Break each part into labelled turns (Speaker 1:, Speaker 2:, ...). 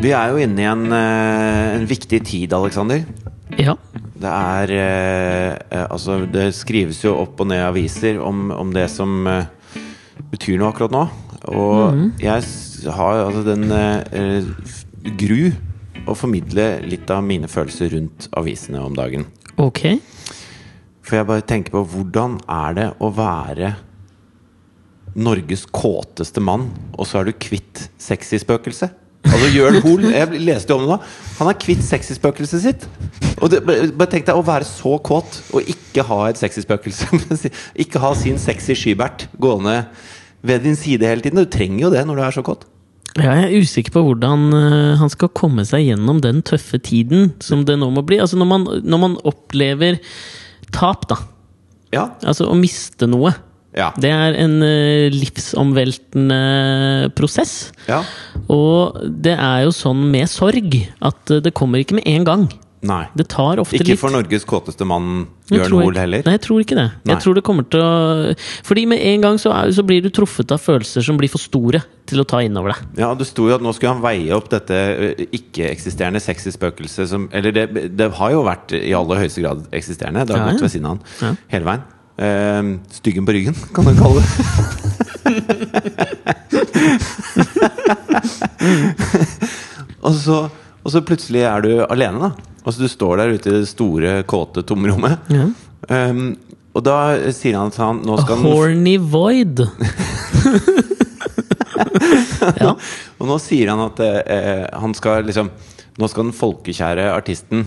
Speaker 1: Vi er jo inne i en, eh, en viktig tid, Aleksander.
Speaker 2: Ja.
Speaker 1: Det er eh, eh, Altså, det skrives jo opp og ned i aviser om, om det som eh, betyr noe akkurat nå. Og jeg s- har jo altså den eh, eh, gru å formidle litt av mine følelser rundt avisene om dagen.
Speaker 2: Ok.
Speaker 1: For jeg bare tenker på hvordan er det å være Norges kåteste mann, og så er du kvitt sexyspøkelset? Altså Jørn Hoel, jeg leste jo om det nå, han er kvitt sexyspøkelset sitt. Og det, bare bare tenk deg å være så kåt og ikke ha et sexyspøkelse. ikke ha sin sexy skybert gående ved din side hele tiden. Du trenger jo det når du er så kåt.
Speaker 2: Jeg er usikker på hvordan eh, han skal komme seg gjennom den tøffe tiden som det nå må bli. Altså når man, når man opplever tap, da.
Speaker 1: Ja.
Speaker 2: Altså å miste noe.
Speaker 1: Ja.
Speaker 2: Det er en eh, livsomveltende prosess.
Speaker 1: ja.
Speaker 2: Og det er jo sånn med sorg at eh, det kommer ikke med en gang.
Speaker 1: Nei.
Speaker 2: Det tar ofte
Speaker 1: Ikke
Speaker 2: litt
Speaker 1: for Norges kåteste mann,
Speaker 2: Jeg
Speaker 1: Jørn
Speaker 2: tror
Speaker 1: Hoel,
Speaker 2: ikke-
Speaker 1: heller.
Speaker 2: Nei, jeg tror ikke det.
Speaker 1: Nei.
Speaker 2: Jeg tror det kommer til å Fordi med en gang så, er, så blir du truffet av følelser som blir for store til å ta innover deg.
Speaker 1: Ja, Det sto jo at nå skulle han veie opp dette ø, ikke-eksisterende sexy spøkelset som Eller det, det har jo vært i aller høyeste grad eksisterende. Det har
Speaker 2: Ja, ja.
Speaker 1: gått ved siden av han
Speaker 2: Ja.
Speaker 1: hele veien. Ehm, styggen på ryggen, kan du kalle det. og, så, og så plutselig er du alene, da. Altså Du står der ute i det store, kåte tomrommet.
Speaker 2: Ja.
Speaker 1: Ehm, og da sier han at han nå
Speaker 2: A
Speaker 1: skal han
Speaker 2: horny void. ja.
Speaker 1: Og nå sier han at eh, han skal liksom Nå skal den folkekjære artisten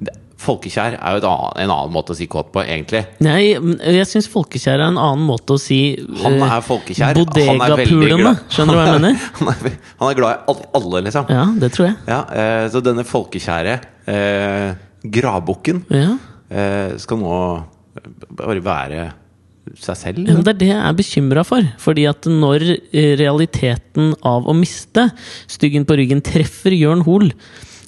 Speaker 1: Det- Folkekjær er jo et annet, en annen måte å si kåt på, egentlig.
Speaker 2: Nei, men jeg syns folkekjær er en annen måte å si
Speaker 1: Han
Speaker 2: eh,
Speaker 1: er folkekjær. Han er veldig
Speaker 2: Bodegapulene.
Speaker 1: glad.
Speaker 2: Skjønner du hva jeg mener?
Speaker 1: Han er, han er glad i alle, alle liksom.
Speaker 2: Ja, det tror jeg.
Speaker 1: Ja, eh, så denne folkekjære eh, gravbukken
Speaker 2: Ja.
Speaker 1: eh, skal nå eh, bare være seg selv.
Speaker 2: Ja,
Speaker 1: liksom.
Speaker 2: men det er det jeg er bekymra for. Fordi at når eh, realiteten av å miste styggen på ryggen treffer Jørn Hoel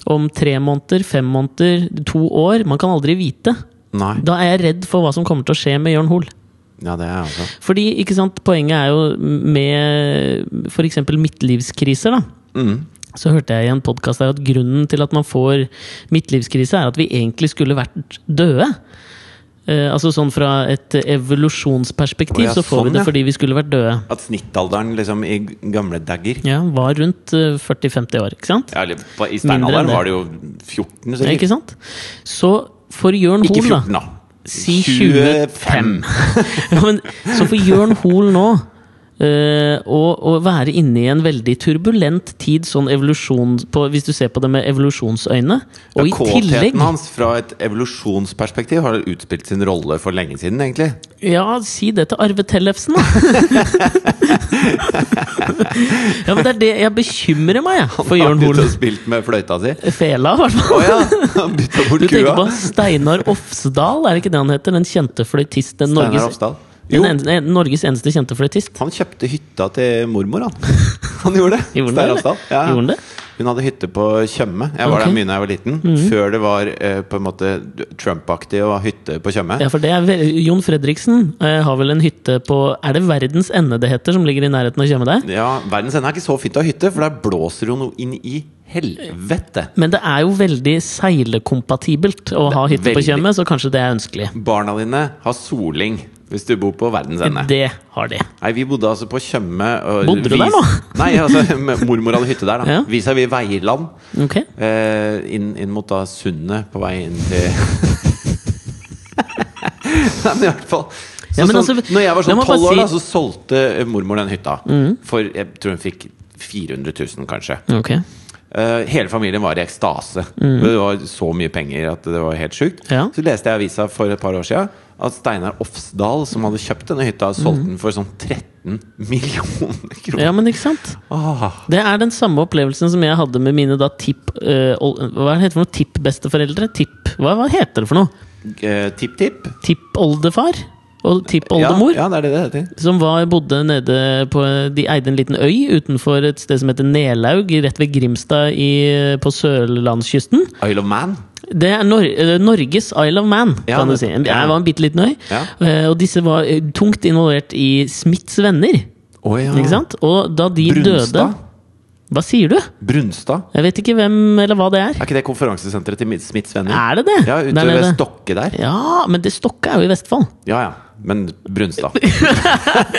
Speaker 2: om tre måneder, fem måneder, to år Man kan aldri vite.
Speaker 1: Nei.
Speaker 2: Da er jeg redd for hva som kommer til å skje med Jørn Hoel.
Speaker 1: Ja, det er altså
Speaker 2: Fordi, ikke sant, poenget er jo med f.eks. midtlivskriser, da.
Speaker 1: Mm.
Speaker 2: Så hørte jeg i en podkast at grunnen til at man får midtlivskrise, er at vi egentlig skulle vært døde. Eh, altså sånn fra et evolusjonsperspektiv,
Speaker 1: Å ja,
Speaker 2: så får
Speaker 1: sånn,
Speaker 2: vi det
Speaker 1: ja.
Speaker 2: fordi vi skulle vært døde.
Speaker 1: At snittalderen liksom i gamle dager
Speaker 2: Ja, var rundt eh, 40-50 år, ikke sant?
Speaker 1: ja, eller på- I
Speaker 2: Mindre enn
Speaker 1: steinalderen
Speaker 2: det.
Speaker 1: var det jo 14,
Speaker 2: Ja,
Speaker 1: sikkert.
Speaker 2: ikke sant? Så for Jørn
Speaker 1: Ikke
Speaker 2: Hoel,
Speaker 1: 14,
Speaker 2: da
Speaker 1: da.
Speaker 2: Si 25. ja, men, så for Jørn Hoel nå eh, å, å være inne i en veldig turbulent tid, sånn evolusjon på, hvis du ser på det med evolusjonsøyne.
Speaker 1: Ja,
Speaker 2: Og i
Speaker 1: Kåtheten
Speaker 2: tillegg
Speaker 1: hans fra et evolusjonsperspektiv har utspilt sin rolle for lenge siden, egentlig.
Speaker 2: Ja, si det til Arve Tellefsen, da! ja, men det er det jeg bekymrer meg jeg, for
Speaker 1: Han
Speaker 2: Jørn
Speaker 1: har
Speaker 2: Hoel.
Speaker 1: begynt å spilt med fløyta si.
Speaker 2: Fela, i hvert fall.
Speaker 1: Å ja! Han bytta bort
Speaker 2: Du tenker
Speaker 1: kua.
Speaker 2: på Steinar Ofsdal, er det ikke det han heter? Den kjente fløytist. Den
Speaker 1: Steinar
Speaker 2: Norges,
Speaker 1: Ofsdal. Jo,
Speaker 2: den eneste, en- Norges eneste kjente fløytist.
Speaker 1: han kjøpte hytta til mormor, han. Han gjorde det.
Speaker 2: Gjorde han det,
Speaker 1: Steinar
Speaker 2: eller?
Speaker 1: Ofsdal. Ja.
Speaker 2: Gjorde han det?
Speaker 1: Hun hadde hytte på Tjøme. Jeg var
Speaker 2: Ok.
Speaker 1: der
Speaker 2: Mhm.
Speaker 1: mye da jeg var liten. Før det var eh, på en måte Trump-aktig å ha hytte på Tjøme.
Speaker 2: Ja, for det er ve- Jon Fredriksen eh, har vel en hytte på Er det Verdens Ende det heter, som ligger i nærheten av Tjøme der?
Speaker 1: Ja, Verdens ende er ikke så fint å ha hytte, for der blåser jo noe inn i helvete.
Speaker 2: Men det er jo veldig seilekompatibelt å ha hytte på
Speaker 1: veldig.
Speaker 2: Tjøme, så kanskje det er ønskelig.
Speaker 1: Barna dine har soling hvis du bor på verdens ende.
Speaker 2: Det har de.
Speaker 1: Nei, vi bodde altså på Tjøme og
Speaker 2: Bodde du der nå?
Speaker 1: Nei, altså, med- mormor hadde hytte der da
Speaker 2: Ja.
Speaker 1: Vis-a-vis Veiland
Speaker 2: Ok.
Speaker 1: eh, inn, inn mot da sundet på vei inn til Nei, men i hvert fall så,
Speaker 2: Ja, men
Speaker 1: sånn,
Speaker 2: altså,
Speaker 1: Når jeg var
Speaker 2: la
Speaker 1: sånn
Speaker 2: meg bare
Speaker 1: 12 år da,
Speaker 2: si- Mm.
Speaker 1: så solgte eh, mormor den hytta For, jeg tror hun fikk 400 000 kanskje
Speaker 2: Ok.
Speaker 1: Eh, hele familien var i ekstase. Det var så mye penger at det var helt sjukt.
Speaker 2: Mm. Ja.
Speaker 1: Så leste jeg i avisa for et par år siden at Steinar Ofsdal, som hadde kjøpt denne hytta, solgte den for sånn 13 millioner kroner.
Speaker 2: Mm. Ja, men ikke sant?
Speaker 1: Ah,
Speaker 2: Det er den samme opplevelsen som jeg hadde med mine da tipp... eh, ol- hva heter det for noe? Tippbesteforeldre? Tipp... Hva, hva heter det for noe?
Speaker 1: eh, Tipp-tipp.
Speaker 2: Tippoldefar?
Speaker 1: Ja,
Speaker 2: Og tippoldemor?
Speaker 1: ja, det er det det heter.
Speaker 2: Som var, bodde nede på De eide en liten øy utenfor et sted som heter Nelaug, rett ved Grimstad i, på sørlandskysten.
Speaker 1: Isle of Man.
Speaker 2: Det er Nor eh, Norges Isle of Man,
Speaker 1: Ja,
Speaker 2: kan du
Speaker 1: det-
Speaker 2: si. Det
Speaker 1: ja.
Speaker 2: var en bitte liten øy.
Speaker 1: Ja.
Speaker 2: Eh, Og disse var eh, tungt involvert i Smiths venner.
Speaker 1: Å ja.
Speaker 2: Ikke sant? Og da de
Speaker 1: Brunstad.
Speaker 2: døde Hva sier du?
Speaker 1: Brunstad.
Speaker 2: Jeg vet ikke hvem eller hva det er.
Speaker 1: Er ikke det konferansesenteret til Smiths venner?
Speaker 2: Er det det?
Speaker 1: Ja,
Speaker 2: Der
Speaker 1: ute ved
Speaker 2: nede?
Speaker 1: Stokke der.
Speaker 2: Ja, men det Stokke er jo i Vestfold.
Speaker 1: Ja ja, men Brunstad.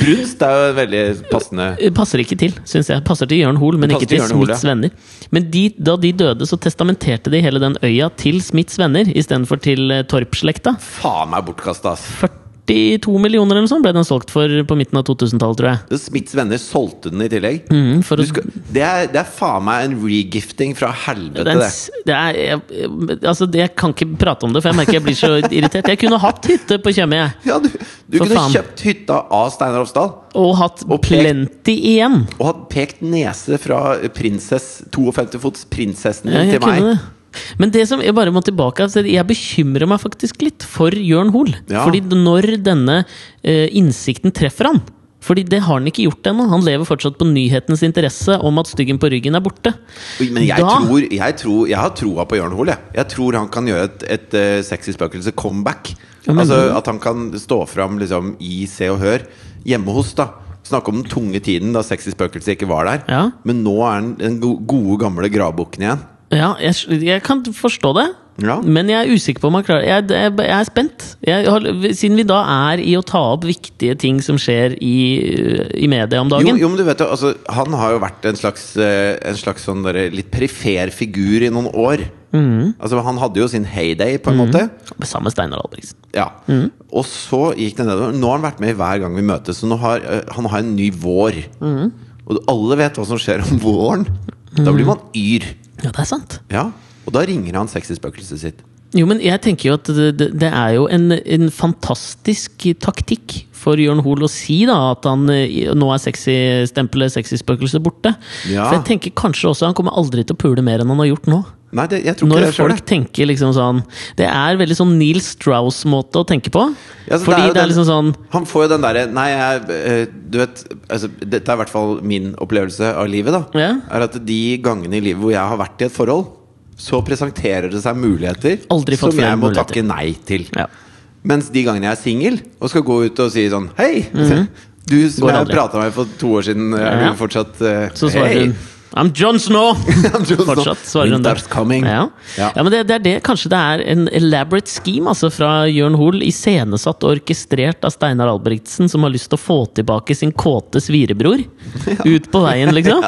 Speaker 1: Brunst er jo veldig passende.
Speaker 2: Eh, Passer ikke til, syns jeg. Passer til Jørn Hoel, men
Speaker 1: passer
Speaker 2: ikke til
Speaker 1: til Jørn Hoel,
Speaker 2: Smiths venner. Men de, da de døde, så testamenterte de hele den øya til Smiths venner istedenfor til eh, Torp-slekta.
Speaker 1: Faen meg bortkasta, ass.
Speaker 2: 42 millioner eller noe sånt ble den solgt for på midten av 2000-tallet, tror jeg.
Speaker 1: Smiths venner solgte den i tillegg.
Speaker 2: Mm, for
Speaker 1: Du
Speaker 2: å,
Speaker 1: skal, det, er, det er faen meg en regifting fra helvete,
Speaker 2: den,
Speaker 1: det.
Speaker 2: s- det er, jeg, jeg- altså, det- jeg kan ikke prate om det, for jeg merker jeg blir så irritert. Jeg kunne hatt hytte på Tjøme, jeg.
Speaker 1: Ja, du du
Speaker 2: For
Speaker 1: kunne
Speaker 2: faen.
Speaker 1: kjøpt hytta av Steinar Ofsdal
Speaker 2: Og hatt
Speaker 1: Og pekt-
Speaker 2: plenty igjen.
Speaker 1: og hatt pekt nese fra prinsess 52 fots prinsessen
Speaker 2: Ja,
Speaker 1: din
Speaker 2: jeg
Speaker 1: til meg.
Speaker 2: kunne det. Men det som jeg bare må tilbake altså, Jeg bekymrer meg faktisk litt for Jørn Hoel.
Speaker 1: Ja.
Speaker 2: Fordi når denne eh, innsikten treffer han Fordi det har han ikke gjort ennå. Han lever fortsatt på nyhetens interesse om at styggen på ryggen er borte.
Speaker 1: Oi, Men jeg,
Speaker 2: Da-
Speaker 1: tror, jeg, tror, jeg har troa på Jørn Hoel. Jeg. jeg tror han kan gjøre et, et eh, sexy spøkelse-comeback.
Speaker 2: Ja, men-
Speaker 1: altså At han kan stå fram liksom, i Se og Hør hjemme hos. da Snakke om den tunge tiden da sexy spøkelse ikke var der.
Speaker 2: Ja.
Speaker 1: Men nå er han den go gode, gamle gravbukken igjen.
Speaker 2: Ja, jeg, jeg kan forstå det.
Speaker 1: Ja.
Speaker 2: Men jeg er usikker på om han klarer jeg, jeg, jeg er spent. Jeg, har, siden vi da er i å ta opp viktige ting som skjer i, i media om
Speaker 1: Jo,
Speaker 2: dagen.
Speaker 1: jo, men du vet jo, altså, Han har jo vært en slags, eh, en slags sånn derre litt perifer figur i noen år.
Speaker 2: Mm.
Speaker 1: Altså Han hadde jo sin heyday, på en måte.
Speaker 2: Sammen med Steinar Albrigtsen.
Speaker 1: Ja.
Speaker 2: Mm.
Speaker 1: Og så gikk det nedover. Nå har han vært med hver gang vi møtes, så nå har, eh, han har en ny vår.
Speaker 2: Mm.
Speaker 1: Og alle vet hva som skjer om våren. Da blir man yr.
Speaker 2: Ja, det er sant.
Speaker 1: Ja. Og da ringer han sexyspøkelset sitt.
Speaker 2: Jo, men jeg tenker jo at det, det, det er jo en, en fantastisk taktikk for Jørn Hoel å si da at han eh, nå er sexy-stempelet sexy-spøkelset borte.
Speaker 1: Ja.
Speaker 2: For jeg tenker kanskje også han kommer aldri til å pule mer enn han har gjort nå.
Speaker 1: Nei, det, jeg tror ikke
Speaker 2: Når
Speaker 1: det
Speaker 2: folk
Speaker 1: skjer, det.
Speaker 2: tenker liksom sånn Det er veldig sånn Neil Strauss-måte å tenke på.
Speaker 1: Ja, så det
Speaker 2: fordi
Speaker 1: er jo
Speaker 2: det er,
Speaker 1: den-
Speaker 2: liksom sånn
Speaker 1: Han får jo den derre Nei, jeg, eh, du vet altså, Dette er i hvert fall min opplevelse av livet. da
Speaker 2: Ja.
Speaker 1: Er at De gangene i livet hvor jeg har vært i et forhold, så presenterer det seg muligheter
Speaker 2: Aldri fått
Speaker 1: som
Speaker 2: flere
Speaker 1: jeg må
Speaker 2: muligheter.
Speaker 1: takke nei til.
Speaker 2: ja.
Speaker 1: Mens de gangene jeg er singel og skal gå ut og si sånn Hei! Du som
Speaker 2: Mhm. Går
Speaker 1: jeg
Speaker 2: aldri.
Speaker 1: prata med for to år siden, er
Speaker 2: Ja.
Speaker 1: du fortsatt eh,
Speaker 2: Så svarer
Speaker 1: hei?
Speaker 2: hun I'm John Snow!
Speaker 1: John Snow.
Speaker 2: Fortsatt svarer hun
Speaker 1: Winter's coming.
Speaker 2: Ja.
Speaker 1: Ja.
Speaker 2: Ja. men det, det er det. Kanskje det er en elaborate scheme altså, fra Jørn Hoel, iscenesatt og orkestrert av Steinar Albrigtsen, som har lyst til å få tilbake sin kåte svirebror ut på veien, liksom.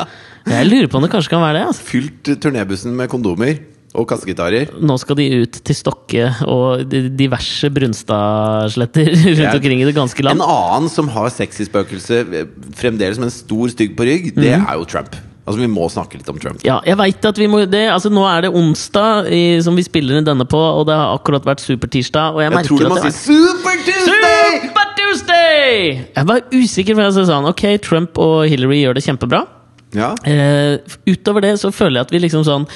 Speaker 2: Jeg lurer på om det kanskje kan være det. Altså.
Speaker 1: Fylt turnébussen med kondomer og kassegitarer.
Speaker 2: Nå skal de ut til Stokke og de- diverse Brunstadsletter rundt
Speaker 1: Ja.
Speaker 2: omkring i det ganske
Speaker 1: En
Speaker 2: land.
Speaker 1: annen som har sexyspøkelse eh, fremdeles med en stor stygg på rygg, det
Speaker 2: Mhm.
Speaker 1: er jo Trump. Altså Vi må snakke litt om Trump.
Speaker 2: Ja, jeg vet at vi må det, altså Nå er det onsdag i, som vi spiller inn denne på, og det har akkurat vært supertirsdag. Og jeg,
Speaker 1: Jeg
Speaker 2: merker
Speaker 1: tror du
Speaker 2: at
Speaker 1: må si
Speaker 2: det er-
Speaker 1: Super Tuesday!
Speaker 2: Super Tuesday! Jeg var usikker, for jeg sa sånn Ok, Trump og Hillary gjør det kjempebra.
Speaker 1: Ja.
Speaker 2: Eh, utover det så føler jeg at vi liksom sånn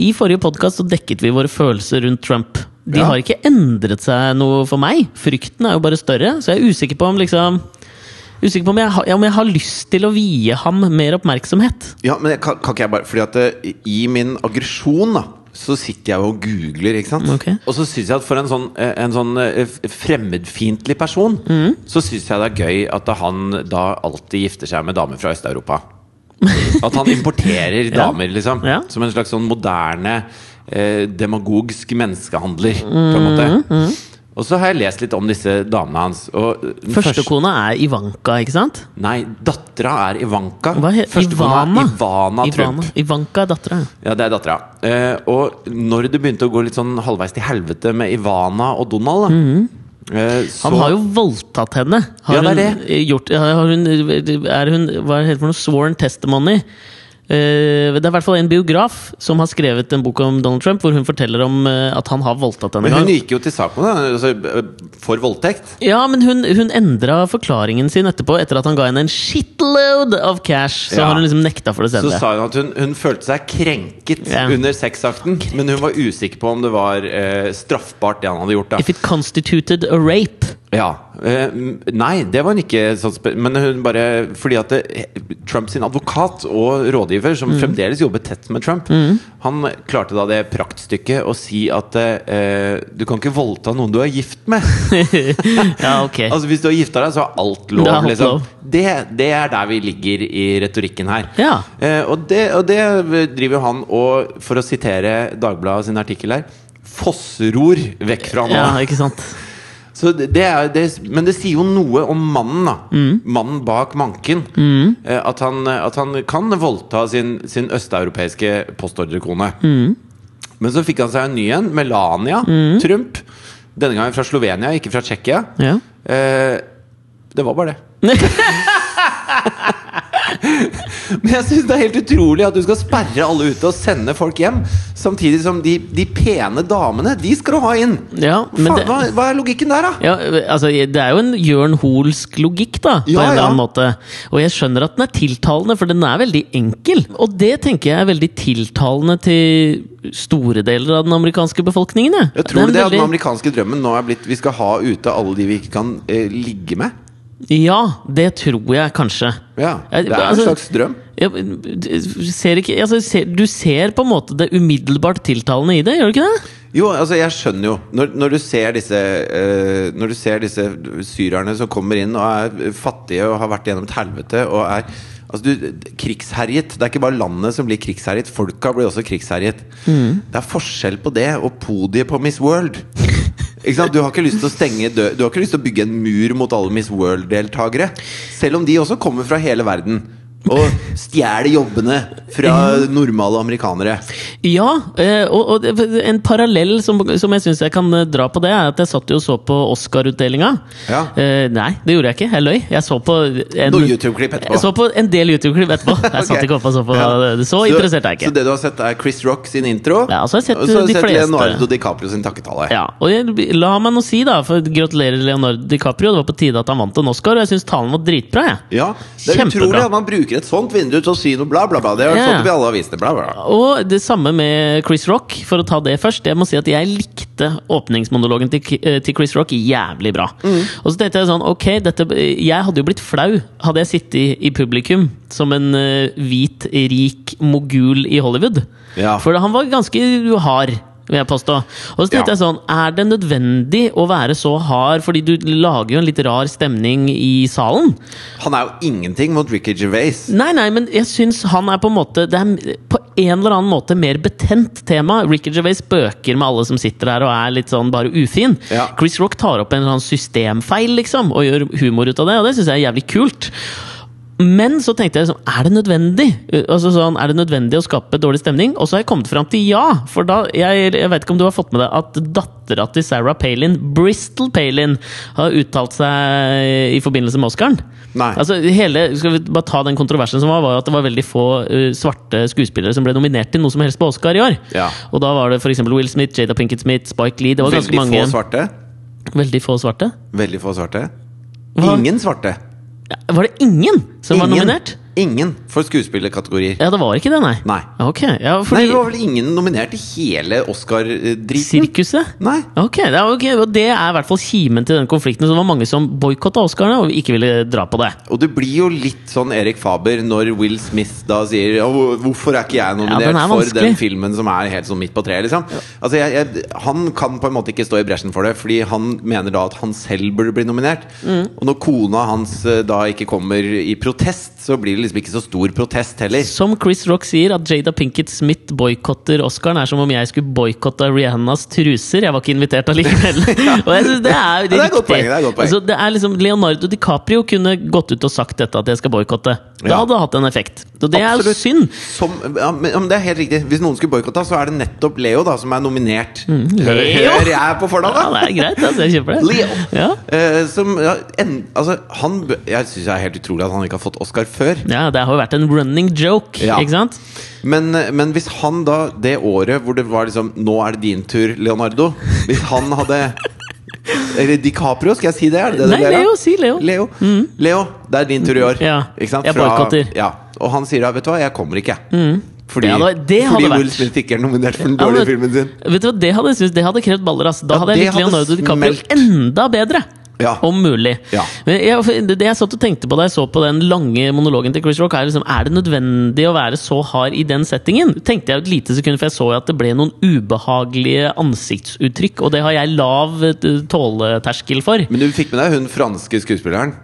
Speaker 2: I forrige podkast så dekket vi våre følelser rundt Trump. De
Speaker 1: Ja.
Speaker 2: har ikke endret seg noe for meg. Frykten er jo bare større, så jeg er usikker på om liksom Usikker på om jeg, har- om jeg har lyst til å vie ham mer oppmerksomhet.
Speaker 1: Ja, men jeg, kan, kan ikke jeg bare Fordi at eh, i min aggresjon da så sitter jeg og googler, ikke sant?
Speaker 2: Ok.
Speaker 1: Og så syns jeg at for en sånn, eh, en sånn eh, f- fremmedfiendtlig person,
Speaker 2: Mhm.
Speaker 1: så syns jeg det er gøy at han da alltid gifter seg med damer fra Øst-Europa. At han importerer
Speaker 2: Ja.
Speaker 1: damer, liksom.
Speaker 2: Ja.
Speaker 1: Som en slags sånn moderne eh, demagogisk menneskehandler, på en måte.
Speaker 2: Mhm,
Speaker 1: Og så har jeg lest litt om disse damene hans. Og eh, den første-
Speaker 2: Førstekona er Ivanka, ikke sant?
Speaker 1: Nei, dattera er Ivanka.
Speaker 2: Hva het
Speaker 1: Førstekona
Speaker 2: Ivana?
Speaker 1: er Ivana Trump.
Speaker 2: Ivana. Ivanka er dattera.
Speaker 1: Ja, det er dattera. Eh, og når det begynte å gå litt sånn halvveis til helvete med Ivana og Donald, da, eh, så
Speaker 2: Mhm. Han har jo voldtatt henne. Har
Speaker 1: Ja, det er
Speaker 2: hun eh, gjort har hun, Er hun Hva heter det for noe? Sworn testimony? Eh, det er i hvert fall en biograf som har skrevet en bok om Donald Trump, hvor hun forteller om eh, at han har voldtatt henne.
Speaker 1: Men
Speaker 2: en
Speaker 1: hun
Speaker 2: gang.
Speaker 1: gikk jo til sak med det, altså, eh, for voldtekt.
Speaker 2: Ja, men hun, hun endra forklaringen sin etterpå, etter at han ga henne en shitload of cash. Så
Speaker 1: Ja.
Speaker 2: har hun liksom nekta for det
Speaker 1: Så
Speaker 2: senere.
Speaker 1: sa hun at hun, hun følte seg krenket
Speaker 2: Ja.
Speaker 1: under sexakten, men hun var usikker på om det var eh, straffbart, det han hadde gjort. da
Speaker 2: If it constituted a rape.
Speaker 1: Ja, Eh, m- nei, det var hun ikke. Sånn spe men hun bare Fordi at det, Trump sin advokat og rådgiver,
Speaker 2: Mm.
Speaker 1: som fremdeles jobber tett med Trump, han klarte da det praktstykket å si at eh, du kan ikke voldta noen du er gift med.
Speaker 2: ja, ok.
Speaker 1: Altså Hvis du har gifta deg, så er alt lov.
Speaker 2: Det er alt
Speaker 1: liksom.
Speaker 2: lov.
Speaker 1: det, det er der vi ligger i retorikken her.
Speaker 2: Ja.
Speaker 1: Eh, og, det, og det driver han og, for å sitere Dagbladet sin artikkel her, fossror vekk fra nå.
Speaker 2: ja, ikke sant.
Speaker 1: Så det det er, det, men det sier jo noe om mannen, da.
Speaker 2: Mm.
Speaker 1: Mannen bak manken. Eh, At, han, at han kan voldta sin, sin østeuropeiske postordrekone.
Speaker 2: Mm.
Speaker 1: Men så fikk han seg en ny en, Melania Trump. Denne gangen fra Slovenia, ikke fra Tsjekkia.
Speaker 2: Ja.
Speaker 1: Eh, det var bare det. Men jeg synes det er helt utrolig at du skal sperre alle ute og sende folk hjem. Samtidig som de, de pene damene, de skal du ha inn!
Speaker 2: ja, men
Speaker 1: Faen,
Speaker 2: det,
Speaker 1: hva, hva er logikken der, da?
Speaker 2: ja, altså, det er jo en Jørn Hoelsk logikk, da. På
Speaker 1: Ja,
Speaker 2: en eller
Speaker 1: ja.
Speaker 2: annen måte. Og jeg skjønner at den er tiltalende, for den er veldig enkel. Og det tenker jeg er veldig tiltalende til store deler av den amerikanske befolkningen. jeg.
Speaker 1: Jeg tror
Speaker 2: Den
Speaker 1: det at den
Speaker 2: veldig-
Speaker 1: amerikanske drømmen nå er blitt Vi skal ha ute alle de vi ikke kan eh, ligge med.
Speaker 2: Ja, det tror jeg kanskje.
Speaker 1: Ja,
Speaker 2: Ja,
Speaker 1: Det er en
Speaker 2: altså-
Speaker 1: slags drøm.
Speaker 2: Ja, men du ser ikke, altså, ser, du ser på en måte det umiddelbart tiltalende i det, gjør du ikke det?
Speaker 1: Jo, altså jeg skjønner jo Når, når, du, ser disse, eh, når du ser disse syrerne som kommer inn og er fattige og har vært gjennom et helvete og er altså du, krigsherjet Det er ikke bare landet som blir krigsherjet, folka blir også krigsherjet. Det er forskjell på det og podiet på Miss World. Ikke sant? Du har ikke lyst til å stenge dø Du har ikke lyst til å bygge en mur mot alle Miss World-deltakere. Selv om de også kommer fra hele verden. Og stjeler jobbene fra normale amerikanere.
Speaker 2: Ja, eh, og, og det- en parallell som, som jeg syns jeg kan eh, dra på det, er at jeg satt jo og så på Oscar-utdelinga.
Speaker 1: Ja.
Speaker 2: Eh, nei, det gjorde jeg ikke. Jeg løy. Jeg så på en,
Speaker 1: Noen YouTube-klipp etterpå.
Speaker 2: Jeg så på en del YouTube-klipp etterpå. Jeg satt
Speaker 1: Ok.
Speaker 2: ikke oppe og så på
Speaker 1: Ja.
Speaker 2: Så interessert er jeg
Speaker 1: Så
Speaker 2: ikke.
Speaker 1: det du har sett, er Chris Rock sin intro?
Speaker 2: Ja, og så har jeg sett,
Speaker 1: og så har
Speaker 2: de
Speaker 1: jeg sett
Speaker 2: fleste.
Speaker 1: Leonardo DiCaprio sin takketale.
Speaker 2: Ja, og jeg, La meg nå si, da, for gratulerer Leonardo DiCaprio. Det var på tide at han vant en Oscar, og jeg syns talen var dritbra. jeg
Speaker 1: Ja, Det er
Speaker 2: Kjempebra.
Speaker 1: utrolig at man bruker et sånt vindu til å si noe bla, bla, bla. Det har
Speaker 2: Ja.
Speaker 1: stått opp i alle avisene. Bla, bla.
Speaker 2: Og det samme med Chris Rock, for å ta det først. Jeg må si at jeg likte åpningsmonologen til, Ki- eh, til Chris Rock jævlig bra.
Speaker 1: Mm.
Speaker 2: Og så tenkte jeg sånn, ok, dette, jeg hadde jo blitt flau hadde jeg sittet i, i publikum som en eh, hvit, rik mogul i Hollywood.
Speaker 1: Ja.
Speaker 2: For han var ganske hard. Vil jeg påstå. Og så tenkte
Speaker 1: Ja.
Speaker 2: jeg sånn, Er det nødvendig å være så hard? Fordi du lager jo en litt rar stemning i salen.
Speaker 1: Han er jo ingenting mot Ricky Gervais.
Speaker 2: Nei, nei, men jeg syns han er på en måte Det er på en eller annen måte mer betent tema. Ricky Gervais spøker med alle som sitter der og er litt sånn bare ufin.
Speaker 1: Ja.
Speaker 2: Chris Rock tar opp en eller annen systemfeil, liksom, og gjør humor ut av det, og det syns jeg er jævlig kult. Men så tenkte jeg liksom, er det nødvendig Uh, Altså sånn, er det nødvendig å skape dårlig stemning? Og så har jeg kommet fram til ja! For da, jeg, jeg vet ikke om du har fått med deg at dattera til Sarah Palin, Bristol Palin, har uttalt seg i forbindelse med Oscaren.
Speaker 1: Nei.
Speaker 2: Altså hele, Skal vi bare ta den kontroversen som var, var jo at det var veldig få uh, svarte skuespillere som ble nominert til noe som helst på Oscar i år.
Speaker 1: Ja.
Speaker 2: Og da var det f.eks. Will Smith, Jada Pinkett Smith, Spike Lee Det var
Speaker 1: Veldig
Speaker 2: ganske mange
Speaker 1: få svarte.
Speaker 2: Veldig få svarte.
Speaker 1: Veldig få svarte.
Speaker 2: Hva?
Speaker 1: Ingen svarte.
Speaker 2: Ja, Var det ingen som var
Speaker 1: ingen,
Speaker 2: nominert?
Speaker 1: ingen for skuespillerkategorier.
Speaker 2: Ja, det var ikke det, nei.
Speaker 1: Nei.
Speaker 2: Ok, ja,
Speaker 1: Nei,
Speaker 2: fordi
Speaker 1: det var vel ingen nominert i hele Oscar-driten?
Speaker 2: Sirkuset?
Speaker 1: Nei.
Speaker 2: Ok, det er, ok, og det er i hvert fall kimen til den konflikten. Så det var mange som boikotta Oscarene og ikke ville dra på det.
Speaker 1: Og det blir jo litt sånn Erik Faber når Will Smith da sier «Å, Hvorfor er ikke jeg
Speaker 2: Ja,
Speaker 1: nominert
Speaker 2: den er
Speaker 1: for
Speaker 2: vanskelig.
Speaker 1: den filmen som er helt sånn midt på treet? Liksom. Altså, jeg, jeg, han kan på en måte ikke stå i bresjen for det, fordi han mener da at han selv burde bli nominert.
Speaker 2: Mm.
Speaker 1: Og når kona hans eh, da ikke kommer i protest, så blir det liksom ikke så stor protest heller.
Speaker 2: Som Chris Rock sier, at Jada Pinkett Smith boikotter Oscaren, er som om jeg skulle boikotta Rihannas truser. Jeg var ikke invitert allikevel. og jeg synes det er,
Speaker 1: Ja, det er
Speaker 2: riktig.
Speaker 1: et godt poeng, det er et godt poeng.
Speaker 2: Altså, det er liksom, Leonardo DiCaprio kunne gått ut og sagt dette, at jeg skal boikotte. Det
Speaker 1: Ja.
Speaker 2: hadde hatt en effekt. Og det er jo
Speaker 1: Absolutt.
Speaker 2: synd.
Speaker 1: Som, ja, men, ja, men det er helt riktig. Hvis noen skulle boikotta, så er det nettopp Leo da som er nominert. Hør,
Speaker 2: Mm. Leo!
Speaker 1: hører jeg på fornavnet?
Speaker 2: Ja, det er greit, altså. Jeg kjøper det.
Speaker 1: Leo.
Speaker 2: Ja.
Speaker 1: Eh, som, ja, en, altså, han, bø- jeg syns det er helt utrolig at han ikke har fått Oscar før.
Speaker 2: ja, det har jo vært en running joke,
Speaker 1: Ja.
Speaker 2: ikke sant?
Speaker 1: Men, eh, men hvis han da, det året hvor det var liksom Nå er det din tur, Leonardo. Hvis han hadde Eller DiCaprio, skal jeg si det? Er det det du
Speaker 2: Nei,
Speaker 1: ler av?
Speaker 2: Leo, si Leo.
Speaker 1: Leo. Leo, det er din tur i år.
Speaker 2: Ja.
Speaker 1: Ikke sant?
Speaker 2: Jeg boikotter.
Speaker 1: Ja. Og han sier da, vet du hva, jeg kommer ikke. Fordi,
Speaker 2: Det hadde- det hadde
Speaker 1: fordi
Speaker 2: vært-
Speaker 1: Will Smith ikke er nominert for den
Speaker 2: Ja,
Speaker 1: dårlige
Speaker 2: men-
Speaker 1: filmen sin.
Speaker 2: Vet du hva, Det hadde, jeg syntes- det hadde krevd baller. ass. Da hadde jeg
Speaker 1: det
Speaker 2: likt
Speaker 1: hadde
Speaker 2: Leonardo DiCaprio
Speaker 1: smelt.
Speaker 2: enda bedre.
Speaker 1: Ja.
Speaker 2: Om mulig.
Speaker 1: Ja.
Speaker 2: Men jeg, det det jeg satt og tenkte på da jeg så på den lange monologen til Chris Rock, er liksom Er det nødvendig å være så hard i den settingen? Tenkte jeg et lite sekund, for jeg så jo at det ble noen ubehagelige ansiktsuttrykk, og det har jeg lav eh, tåleterskel for.
Speaker 1: Men du fikk med deg hun franske skuespilleren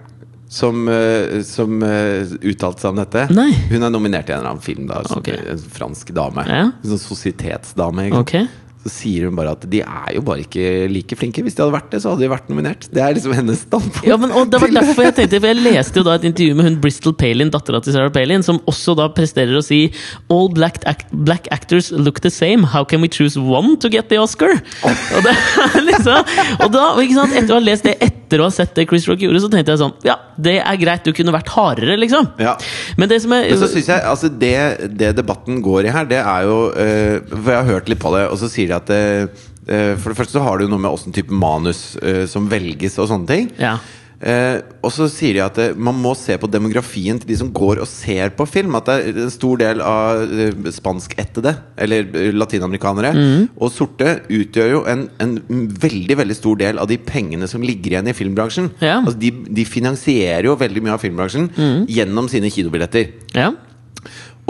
Speaker 1: som, eh, som eh, uttalte seg om dette?
Speaker 2: Nei.
Speaker 1: Hun er nominert i en eller annen film, da. Som
Speaker 2: Ok.
Speaker 1: En fransk dame.
Speaker 2: Ja.
Speaker 1: En sånn sosietetsdame. ikke sant?
Speaker 2: Ok.
Speaker 1: Så sier hun bare at de er jo bare ikke like flinke. Hvis de hadde vært det, så hadde de vært nominert. Det er liksom hennes standpunkt.
Speaker 2: Ja, men, og det var derfor Jeg tenkte, for jeg leste jo da et intervju med hun Bristol Palin, dattera til Sarah Palin, som også da presterer å si All black, act black actors look the same. How can we choose one to get the Oscar? Og, det, er liksom, og da, ikke sant, Etter å ha lest det, etter å ha sett det Chris Rock gjorde, så tenkte jeg sånn Ja, det er greit, du kunne vært hardere, liksom.
Speaker 1: Ja.
Speaker 2: Men det som er
Speaker 1: Men så synes jeg, altså det, det debatten går i her, det er jo eh, For jeg har hørt litt på det, og så sier de at eh, eh, For det første så har du noe med åssen type manus eh, som velges, og sånne ting.
Speaker 2: Ja.
Speaker 1: Eh, og så sier de at eh, man må se på demografien til de som går og ser på film. At det er en stor del av eh, spanskættede, eller eh, latinamerikanere, og sorte utgjør jo en, en veldig veldig stor del av de pengene som ligger igjen i filmbransjen.
Speaker 2: Ja.
Speaker 1: Altså de, de finansierer jo veldig mye av filmbransjen gjennom sine kinobilletter.
Speaker 2: ja.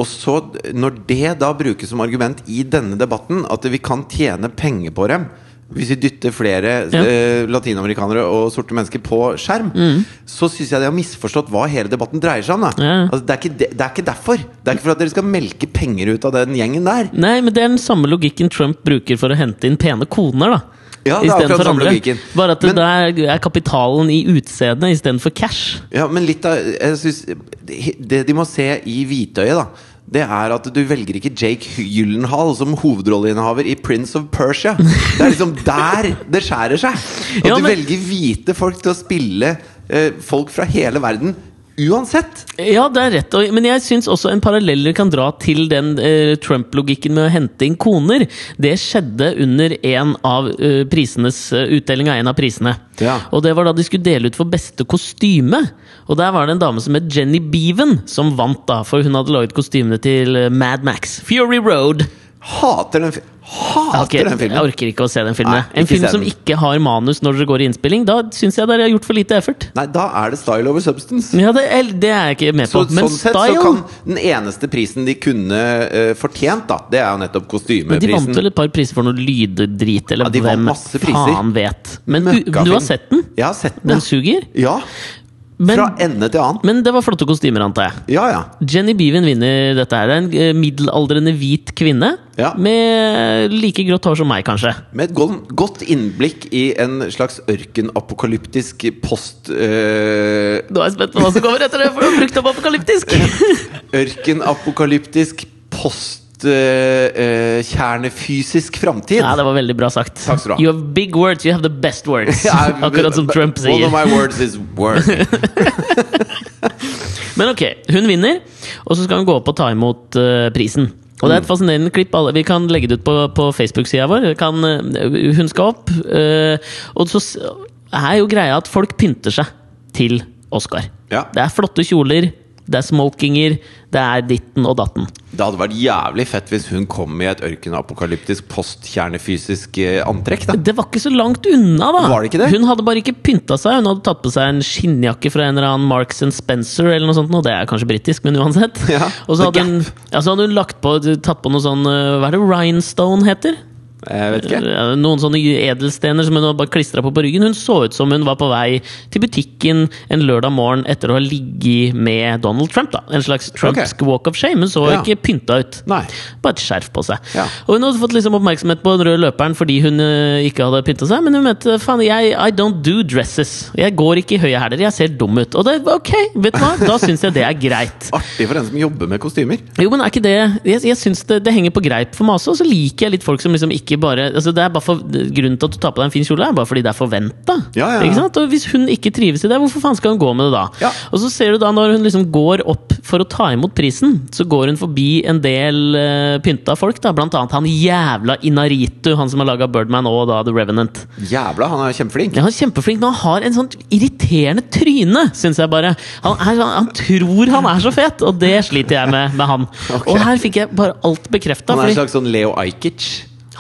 Speaker 1: Og så, når det da brukes som argument i denne debatten, at vi kan tjene penger på dem hvis vi dytter flere
Speaker 2: Ja.
Speaker 1: eh, latinamerikanere og sorte mennesker på skjerm,
Speaker 2: Mm.
Speaker 1: så syns jeg de har misforstått hva hele debatten dreier seg om. Da.
Speaker 2: Ja.
Speaker 1: Altså, det, er ikke de, det er ikke derfor. Det er ikke for at dere skal melke penger ut av den gjengen der.
Speaker 2: Nei, men det er den samme logikken Trump bruker for å hente inn pene koner, da.
Speaker 1: Ja, det er
Speaker 2: I stedet
Speaker 1: akkurat
Speaker 2: for
Speaker 1: samme
Speaker 2: andre.
Speaker 1: logikken.
Speaker 2: Bare at det
Speaker 1: Men-
Speaker 2: der er kapitalen i utseendet istedenfor cash.
Speaker 1: Ja, men litt av jeg synes, det- Det de må se i hvitøyet, da det er at du velger ikke Jake Gyllenhaal som hovedrolleinnehaver i Prince of Persia. Det er liksom der det skjærer seg! At
Speaker 2: Ja,
Speaker 1: du
Speaker 2: men-
Speaker 1: velger hvite folk til å spille eh, folk fra hele verden uansett!
Speaker 2: Ja, det er rett. og- Men jeg syns også en parallell dere kan dra til den eh, Trump-logikken med å hente inn koner. Det skjedde under en av eh, prisenes eh, utdeling av en av prisene.
Speaker 1: Ja.
Speaker 2: Og det var da de skulle dele ut for beste kostyme. Og der var det en dame som het Jenny Beaven som vant, da. For hun hadde laget kostymene til eh, Mad Max. Fury Road.
Speaker 1: Hater den, fi- hater
Speaker 2: Ok,
Speaker 1: den
Speaker 2: Jeg
Speaker 1: filmen!
Speaker 2: orker ikke å se den filmen.
Speaker 1: Nei,
Speaker 2: jeg. en
Speaker 1: ikke
Speaker 2: film
Speaker 1: se
Speaker 2: som
Speaker 1: den.
Speaker 2: ikke har manus når dere går i innspilling. Da syns jeg dere har gjort for lite effort.
Speaker 1: Nei, da er det style over substance.
Speaker 2: Ja, det, er- det er jeg ikke med på.
Speaker 1: Så,
Speaker 2: Men
Speaker 1: sånn sett
Speaker 2: style
Speaker 1: så kan den eneste prisen de kunne eh, fortjent, da, det er jo nettopp
Speaker 2: Men de vant
Speaker 1: kostymeprisen.
Speaker 2: vel et par priser for noe lyddrit, eller
Speaker 1: Ja, de vant
Speaker 2: hvem
Speaker 1: masse priser.
Speaker 2: faen vet. Men u,
Speaker 1: Møkkafilm.
Speaker 2: du har sett den?
Speaker 1: Jeg har sett den.
Speaker 2: Den suger?
Speaker 1: Ja.
Speaker 2: Men,
Speaker 1: Fra ende til annen.
Speaker 2: men det var flotte kostymer, antar jeg.
Speaker 1: Ja, ja.
Speaker 2: Jenny Beaven vinner dette her. En eh, middelaldrende hvit kvinne
Speaker 1: Ja.
Speaker 2: med like grått hår som meg, kanskje.
Speaker 1: Med et godt, godt innblikk i en slags ørkenapokalyptisk post... øh,
Speaker 2: Nå er jeg spent på hva som kommer etter det, for du har brukt opp apokalyptisk!
Speaker 1: ørkenapokalyptisk post... øh, øh, kjernefysisk framtid.
Speaker 2: Ja, det var veldig bra sagt.
Speaker 1: Takk skal du ha.
Speaker 2: You have big words, you have the best words.
Speaker 1: Ja,
Speaker 2: Akkurat som
Speaker 1: but-
Speaker 2: Trump
Speaker 1: One
Speaker 2: sier.
Speaker 1: of my words is work.
Speaker 2: Men ok, hun vinner, og så skal hun gå opp og ta imot eh, prisen. Og det er et fascinerende klipp. alle- Vi kan legge det ut på, på Facebook-sida vår. Kan, eh, hun skal opp, eh, og så s- er jo greia at folk pynter seg til Oscar.
Speaker 1: Ja.
Speaker 2: Det er flotte kjoler, det er smokinger, det er ditten og datten.
Speaker 1: Det hadde vært jævlig fett hvis hun kom i et ørkenapokalyptisk postkjernefysisk øh, antrekk. Da.
Speaker 2: Det var ikke så langt unna, da!
Speaker 1: Var det ikke det?
Speaker 2: Hun hadde bare ikke pynta seg. Hun hadde tatt på seg en skinnjakke fra en eller annen Marks and Spencer, eller noe sånt, og det er kanskje britisk, men uansett.
Speaker 1: Ja,
Speaker 2: og så
Speaker 1: The
Speaker 2: hadde, hun, ja, så hadde hun lagt på, tatt på noe sånn eh, Hva er det rhinestone heter?
Speaker 1: Jeg vet ikke.
Speaker 2: Eh, Noen sånne edelstener som hun hadde bare klistra på på ryggen. Hun så ut som hun var på vei til butikken en lørdag morgen etter å ha ligget med Donald Trump. da En slags Trumpsk walk of shame. Hun så
Speaker 1: Ja.
Speaker 2: ikke pynta ut.
Speaker 1: Nei.
Speaker 2: Bare et skjerf på seg.
Speaker 1: Ja.
Speaker 2: Og hun hadde fått liksom oppmerksomhet på den røde løperen fordi hun eh, ikke hadde pynta seg, men hun mente faen, jeg I don't do dresses. Jeg går ikke i høye hæler, jeg ser dum ut. Og det ok, vet du hva, da syns jeg det er greit.
Speaker 1: Artig for en som jobber med kostymer.
Speaker 2: Jo, men er ikke det Jeg, jeg syns det, det henger på greip for meg også, og så liker jeg litt folk som liksom ikke bare altså det er bare for, Grunnen til at du tar på deg en fin kjole, er bare fordi det er forventa.
Speaker 1: Ja, ja, ja.
Speaker 2: Ikke sant? Og hvis hun ikke trives i det, hvorfor faen skal hun gå med det da?
Speaker 1: Ja.
Speaker 2: Og så ser du da, når hun liksom går opp for å ta imot prisen, så går hun forbi en del eh, pynta folk, da. Blant annet han jævla Inaritu, han som har laga Birdman og da The Revenant.
Speaker 1: Jævla, han er kjempeflink.
Speaker 2: Ja, han er kjempeflink, men han har en sånn irriterende tryne, syns jeg bare. Han, er, sånn- han tror han er så fet, og det sliter jeg med med han.
Speaker 1: Ok.
Speaker 2: Og her fikk jeg bare alt bekrefta.
Speaker 1: Han er en
Speaker 2: Han,
Speaker 1: slags sånn Leo Ajkic.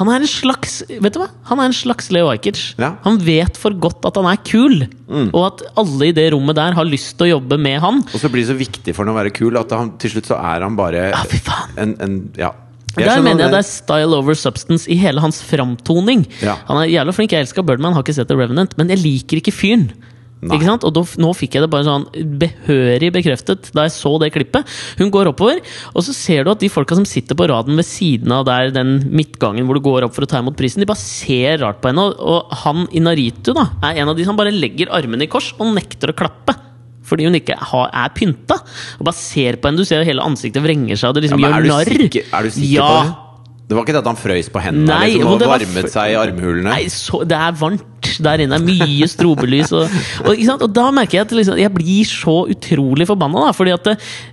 Speaker 2: Han er en slags Vet du hva? Han er en slags Leo Ajkic.
Speaker 1: Ja. Mm.
Speaker 2: Han vet for godt at han er kul, og at alle i det rommet der har lyst til å jobbe med han.
Speaker 1: Og så blir det så viktig for han å være kul at han, til slutt så er han bare
Speaker 2: Ja, fy faen.
Speaker 1: en, en Ja.
Speaker 2: Der
Speaker 1: skjønner
Speaker 2: mener jeg
Speaker 1: han-
Speaker 2: det er style over substance i hele hans framtoning.
Speaker 1: Ja.
Speaker 2: Han er jævla flink, jeg elsker Birdman, har ikke sett The Revenant, men jeg liker ikke fyren.
Speaker 1: Nei.
Speaker 2: Ikke sant? Og da, nå fikk jeg det bare sånn behørig bekreftet da jeg så det klippet. Hun går oppover, og så ser du at de folka som sitter på raden ved siden av der den midtgangen hvor du går opp for å ta imot prisen, de bare ser rart på henne. og- Og han Inaritu da, er en av de som bare legger armene i kors og nekter å klappe. Fordi hun ikke har, er pynta. Og bare ser på henne, du ser jo hele ansiktet vrenger seg. Og det
Speaker 1: Ja,
Speaker 2: liksom
Speaker 1: men er
Speaker 2: gjør
Speaker 1: du
Speaker 2: narr.
Speaker 1: sikker, er du sikker
Speaker 2: ja.
Speaker 1: på det? Det var ikke det at han frøys på hendene
Speaker 2: Nei,
Speaker 1: liksom,
Speaker 2: jo,
Speaker 1: og
Speaker 2: det var
Speaker 1: varmet
Speaker 2: fr-
Speaker 1: seg i armhulene?
Speaker 2: Nei, så, det er varmt der inne. Mye strobelys. Og, og, ikke sant? og da merker jeg at liksom, jeg blir så utrolig forbanna. da, Fordi at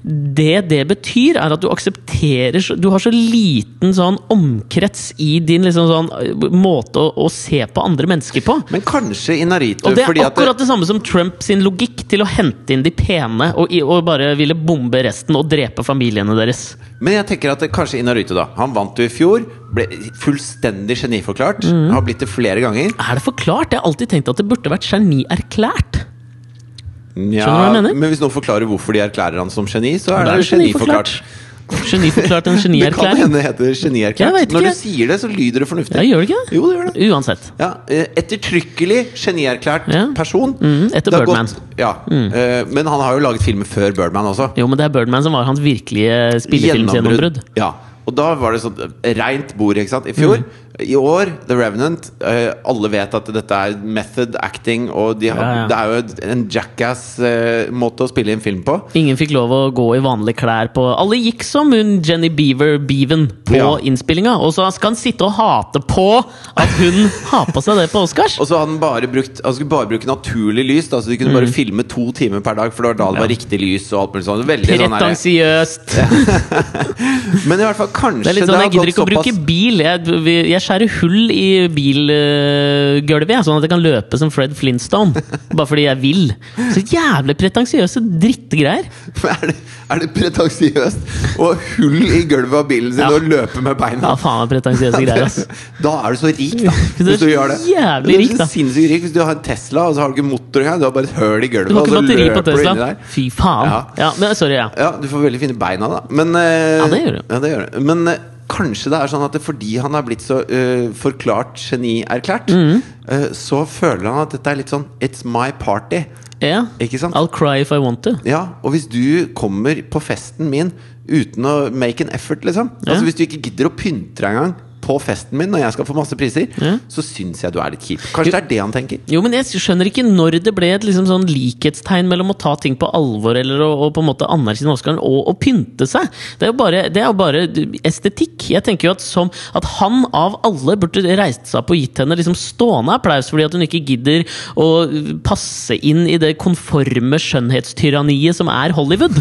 Speaker 2: det, det det betyr, er at du aksepterer så- Du har så liten sånn omkrets i din liksom, sånn, eh, måte å, å se på andre mennesker på.
Speaker 1: Men kanskje Inarito
Speaker 2: Og det er
Speaker 1: fordi at det,
Speaker 2: akkurat det samme som Trump sin logikk til å hente inn de pene og, i- og bare ville bombe resten og drepe familiene deres.
Speaker 1: Men jeg tenker at det, kanskje Inarito, da. Han vant jo i fjor. Ble fullstendig geniforklart.
Speaker 2: Mhm.
Speaker 1: Har blitt det flere ganger.
Speaker 2: Er det forklart? Jeg har alltid tenkt at det burde vært genierklært.
Speaker 1: Ja,
Speaker 2: hva jeg mener?
Speaker 1: Men hvis noen forklarer hvorfor de erklærer han som geni, så er
Speaker 2: Da
Speaker 1: det,
Speaker 2: er det
Speaker 1: geniforklart.
Speaker 2: geniforklart. Geniforklart en
Speaker 1: Det kan
Speaker 2: genierklæring.
Speaker 1: hende det heter
Speaker 2: Jeg vet
Speaker 1: genierklært.
Speaker 2: ikke.
Speaker 1: Når du sier det, så lyder det fornuftig.
Speaker 2: Ja, gjør det ikke det?
Speaker 1: Jo, det gjør det.
Speaker 2: Uansett.
Speaker 1: Ja, eh, Ettertrykkelig genierklært
Speaker 2: Ja.
Speaker 1: person.
Speaker 2: Mm, etter
Speaker 1: Det har
Speaker 2: Birdman. Mm.
Speaker 1: gått- ja, eh, Men han har jo laget filmer før Birdman også.
Speaker 2: Jo, men det er Birdman som var hans virkelige spillefilmsgjennombrudd.
Speaker 1: Ja. Og da var det sånn eh, rent bord ikke sant? i
Speaker 2: Mm.
Speaker 1: fjor. I år, The Revenant. eh, alle vet at dette er method acting, og de har,
Speaker 2: Ja, ja.
Speaker 1: det er jo et- en jackass-måte å spille inn film på.
Speaker 2: Ingen fikk lov å gå i vanlige klær på Alle gikk som hun Jenny Beaver Beaven på
Speaker 1: Ja.
Speaker 2: innspillinga, og så skal han sitte og hate på at hun har på seg det på Oscars!
Speaker 1: Og så hadde han bare brukt Han skulle bare bruke naturlig lys. Da, så de kunne
Speaker 2: Mm.
Speaker 1: bare filme to timer per dag, for det var da det var riktig lys. Og alt mulig sånn. Veldig sånn her,
Speaker 2: Pretensiøst!
Speaker 1: men i hvert fall kanskje
Speaker 2: Det er litt sånn, Jeg gidder ikke å bruke bil. Jeg, vi- jeg skjærer hull i bilgulvet, jeg, sånn at jeg kan løpe som Fred Flintstone. Bare fordi jeg vil. Så jævlig pretensiøse drittgreier.
Speaker 1: Men Er det, er det pretensiøst å ha hull i gulvet av bilen sin
Speaker 2: Ja.
Speaker 1: og løpe med beina?
Speaker 2: Ja, faen meg pretensiøse greier, ass.
Speaker 1: Da er du så rik, da.
Speaker 2: Du er
Speaker 1: Hvis du gjør det.
Speaker 2: jævlig
Speaker 1: Du er
Speaker 2: rik, da.
Speaker 1: Sinnssykt rik hvis du har en Tesla og så har du ikke motor engang. Du har bare et høl i gulvet.
Speaker 2: Du har
Speaker 1: og
Speaker 2: ikke
Speaker 1: så
Speaker 2: batteri på
Speaker 1: løper altså, du inni
Speaker 2: Tesla.
Speaker 1: der.
Speaker 2: Fy faen.
Speaker 1: Ja.
Speaker 2: Ja, men sorry, ja.
Speaker 1: Ja, du får veldig fine beina, da. Men, eh,
Speaker 2: Ja, det gjør du.
Speaker 1: ja, det gjør du. Men eh, kanskje det er sånn at det, fordi han er blitt så eh, forklart genierklært,
Speaker 2: Mhm.
Speaker 1: eh, så føler han at dette er litt sånn It's my party.
Speaker 2: ja.
Speaker 1: Ikke sant?
Speaker 2: I'll cry if I want to.
Speaker 1: Ja, og hvis du kommer på festen min uten å make an effort, liksom
Speaker 2: Ja.
Speaker 1: Altså Hvis du ikke gidder å pynte deg engang på festen min når jeg skal få masse priser,
Speaker 2: Ja.
Speaker 1: så syns jeg du er litt kjip. Kanskje det er det han tenker?
Speaker 2: Jo, men jeg skjønner ikke når det ble et liksom sånn likhetstegn mellom å ta ting på alvor eller å, å på en måte anerkjenne Oscaren og å pynte seg. Det er jo bare, det er jo bare estetikk. Jeg tenker jo at, som, at han av alle burde reist seg opp og gitt henne liksom stående applaus fordi at hun ikke gidder å passe inn i det konforme skjønnhetstyranniet som er Hollywood.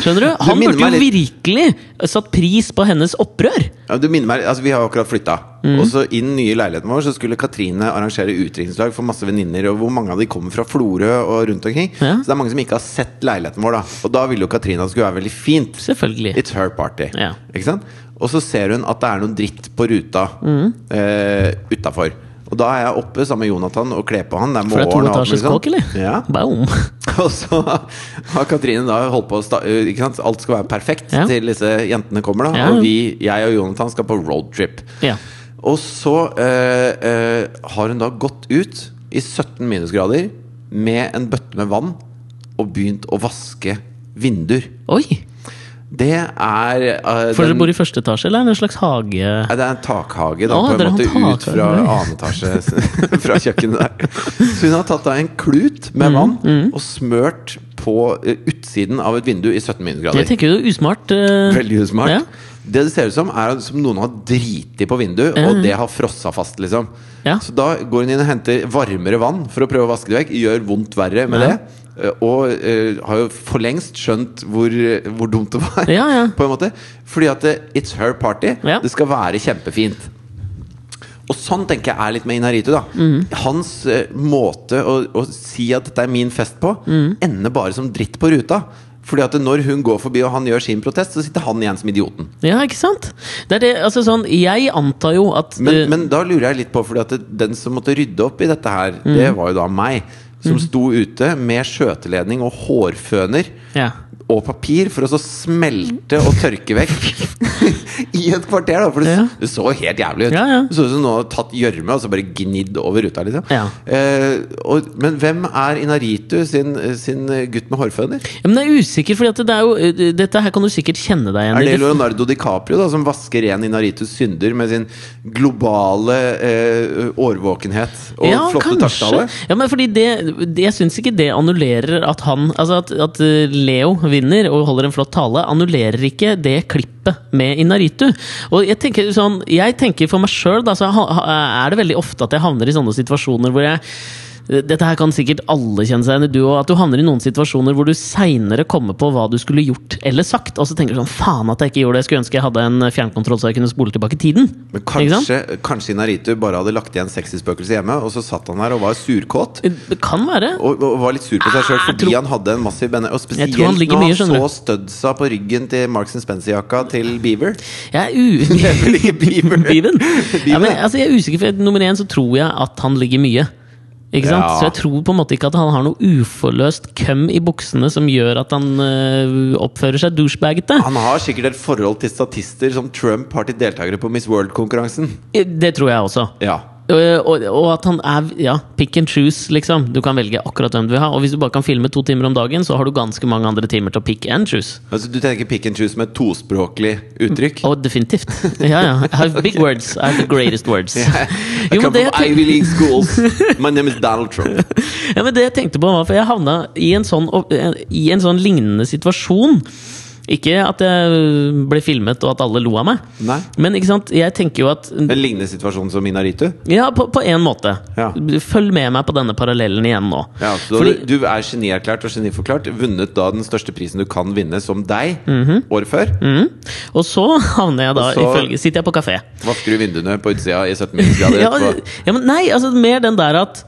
Speaker 2: Skjønner du? Han
Speaker 1: minner
Speaker 2: burde jo
Speaker 1: meg
Speaker 2: virkelig satt pris på hennes opprør.
Speaker 1: Ja, du minner meg, altså Vi har jo akkurat flytta. Og så I den nye leiligheten vår Så skulle Katrine arrangere utdrikningslag for masse venninner. Og hvor mange av de kommer fra Florø og rundt omkring.
Speaker 2: Ja.
Speaker 1: Så det er mange som ikke har sett leiligheten vår. da Og da ville jo Katrine at det skulle være veldig fint.
Speaker 2: Selvfølgelig.
Speaker 1: It's her party.
Speaker 2: Ja.
Speaker 1: Ikke sant? Og så ser hun at det er noe dritt på ruta
Speaker 2: Mm.
Speaker 1: eh, utafor. Og da er jeg oppe sammen med Jonathan og kler på han. Det er
Speaker 2: For det er to
Speaker 1: morgen og alt mulig
Speaker 2: etasjes
Speaker 1: sånn.
Speaker 2: kåk, eller?
Speaker 1: Ja.
Speaker 2: Boom.
Speaker 1: Og så har Katrine da holdt på å sta eh, ikke sant? Alt skal være perfekt
Speaker 2: Ja.
Speaker 1: til disse jentene kommer, da.
Speaker 2: Ja.
Speaker 1: Og vi, jeg og Jonathan skal på roadtrip.
Speaker 2: Ja.
Speaker 1: Og så eh, eh, har hun da gått ut i 17 minusgrader med en bøtte med vann og begynt å vaske vinduer.
Speaker 2: Oi!
Speaker 1: Det er eh,
Speaker 2: For dere
Speaker 1: den-
Speaker 2: bor i første etasje, eller er det en slags hage?
Speaker 1: Nei, det er en takhage, da,
Speaker 2: Å,
Speaker 1: på
Speaker 2: dere
Speaker 1: en
Speaker 2: har
Speaker 1: måte
Speaker 2: en
Speaker 1: ut fra
Speaker 2: takhage.
Speaker 1: annen etasje fra kjøkkenet der. Så hun har tatt av en klut med
Speaker 2: Mm,
Speaker 1: vann og smørt på eh, utsiden av et vindu i 17
Speaker 2: Jeg
Speaker 1: minusgrader.
Speaker 2: tenker jo usmart. eh,
Speaker 1: Veldig usmart.
Speaker 2: Ja.
Speaker 1: Det det ser ut som, er som noen har driti på vinduet, og det har frossa fast, liksom.
Speaker 2: Mm. Ja.
Speaker 1: Så da går hun inn og henter varmere vann for å prøve å vaske det vekk. Gjør vondt verre med
Speaker 2: Ja.
Speaker 1: det. eh, Og eh, har jo for lengst skjønt hvor, eh, hvor dumt det var.
Speaker 2: Ja, ja.
Speaker 1: På en måte Fordi at eh, it's her party.
Speaker 2: Ja.
Speaker 1: Det skal være kjempefint. Og sånn tenker jeg er litt med Inaritu. da
Speaker 2: Mhm.
Speaker 1: Hans
Speaker 2: Mhm.
Speaker 1: eh, måte å, å si at dette er min fest på, ender bare som dritt på ruta. Fordi at når hun går forbi og han gjør sin protest, så sitter han igjen som idioten.
Speaker 2: Ja, ikke sant? Det er det, altså sånn, jeg antar jo at
Speaker 1: Men,
Speaker 2: eh,
Speaker 1: men da lurer jeg litt på, Fordi at det- den som måtte rydde opp i dette her, det
Speaker 2: Mhm.
Speaker 1: var jo da meg. Som sto ute med skjøteledning og hårføner
Speaker 2: ja.
Speaker 1: og papir for å så smelte og tørke vekk i et kvarter. da For det,
Speaker 2: Ja.
Speaker 1: det så helt jævlig ut.
Speaker 2: Ja, ja.
Speaker 1: Det så ut som noen hadde tatt gjørme og så bare gnidd over ruta. Liksom.
Speaker 2: Ja.
Speaker 1: Eh, og, men hvem er Inaritu sin, sin gutt med hårføner?
Speaker 2: Ja, Men jeg er usikker, for det er jo, eh, dette her kan du sikkert kjenne deg igjen
Speaker 1: Er
Speaker 2: i.
Speaker 1: det Leonardo DiCaprio da, som vasker ren Inaritus synder med sin globale eh, årvåkenhet og flotte taktale?
Speaker 2: Ja, men fordi det, det, Jeg syns ikke det annullerer at han Altså at, at eh, Leo vinner og holder en flott tale, annullerer ikke det klippet med Inaritu. Og jeg tenker sånn Jeg tenker for meg sjøl, da, så ha- ha- er det veldig ofte at jeg havner i sånne situasjoner hvor jeg dette her kan sikkert alle kjenne seg igjen i, du òg. At du havner i noen situasjoner hvor du seinere kommer på hva du skulle gjort eller sagt, og så tenker du sånn faen at jeg ikke gjorde det, jeg skulle ønske jeg hadde en fjernkontroll så jeg kunne spole tilbake tiden.
Speaker 1: Men
Speaker 2: Ikke sant?
Speaker 1: kanskje, kanskje Inaritu bare hadde lagt igjen sexyspøkelset hjemme, og så satt han her og var surkåt.
Speaker 2: Det kan være.
Speaker 1: Og, og var litt sur på seg sjøl
Speaker 2: Ah, jeg
Speaker 1: fordi
Speaker 2: tror-
Speaker 1: han hadde en massiv benne. Og spesielt
Speaker 2: Jeg tror han ligger
Speaker 1: når
Speaker 2: mye,
Speaker 1: han
Speaker 2: skjønner
Speaker 1: så studsa på ryggen til Marks Spencer-jakka til Beaver.
Speaker 2: Jeg er u...
Speaker 1: Det er vel ikke Beaver?
Speaker 2: Biven. Ja, men,
Speaker 1: ja.
Speaker 2: altså, jeg er usikker, for nummer én så tror jeg at han ligger mye. Ikke sant?
Speaker 1: Ja.
Speaker 2: Så jeg tror på en måte ikke at han har noe uforløst køm i buksene som gjør at han øh, oppfører seg douchebagete.
Speaker 1: Han har sikkert et forhold til statister som Trump har til deltakere på Miss World-konkurransen.
Speaker 2: Eh, Det tror jeg også.
Speaker 1: Ja
Speaker 2: Øh, Og, og at han er ja, pick and choose, liksom. Du kan velge akkurat hvem du vil ha. Og hvis du bare kan filme to timer om dagen, så har du ganske mange andre timer til å pick and choose.
Speaker 1: Altså Du tenker pick and choose med et tospråklig uttrykk?
Speaker 2: Og definitivt. Ja, ja. I have big words. I have the greatest words.
Speaker 1: I
Speaker 2: Jo, men
Speaker 1: come
Speaker 2: det
Speaker 1: from Ivy League schools. My name is Donald Trump.
Speaker 2: Ja, men det jeg tenkte på var For jeg havna i en sånn, i en sånn lignende situasjon. Ikke at jeg ble filmet og at alle lo av meg.
Speaker 1: Nei.
Speaker 2: Men ikke sant, jeg tenker jo at
Speaker 1: En lignende situasjon som Minaritu.
Speaker 2: Ja, på, på en måte.
Speaker 1: Ja.
Speaker 2: Følg med meg på denne parallellen igjen nå.
Speaker 1: Ja, så
Speaker 2: Fordi,
Speaker 1: du, du er genierklært og geniforklart. Vunnet da den største prisen du kan vinne som deg, året før.
Speaker 2: mm, og så havner jeg da,
Speaker 1: Og så-
Speaker 2: ifølge Sitter jeg på kafé.
Speaker 1: Vasker du vinduene på utsida i 17 minusgrader
Speaker 2: Ja,
Speaker 1: etterpå.
Speaker 2: ja, men nei, altså mer den der at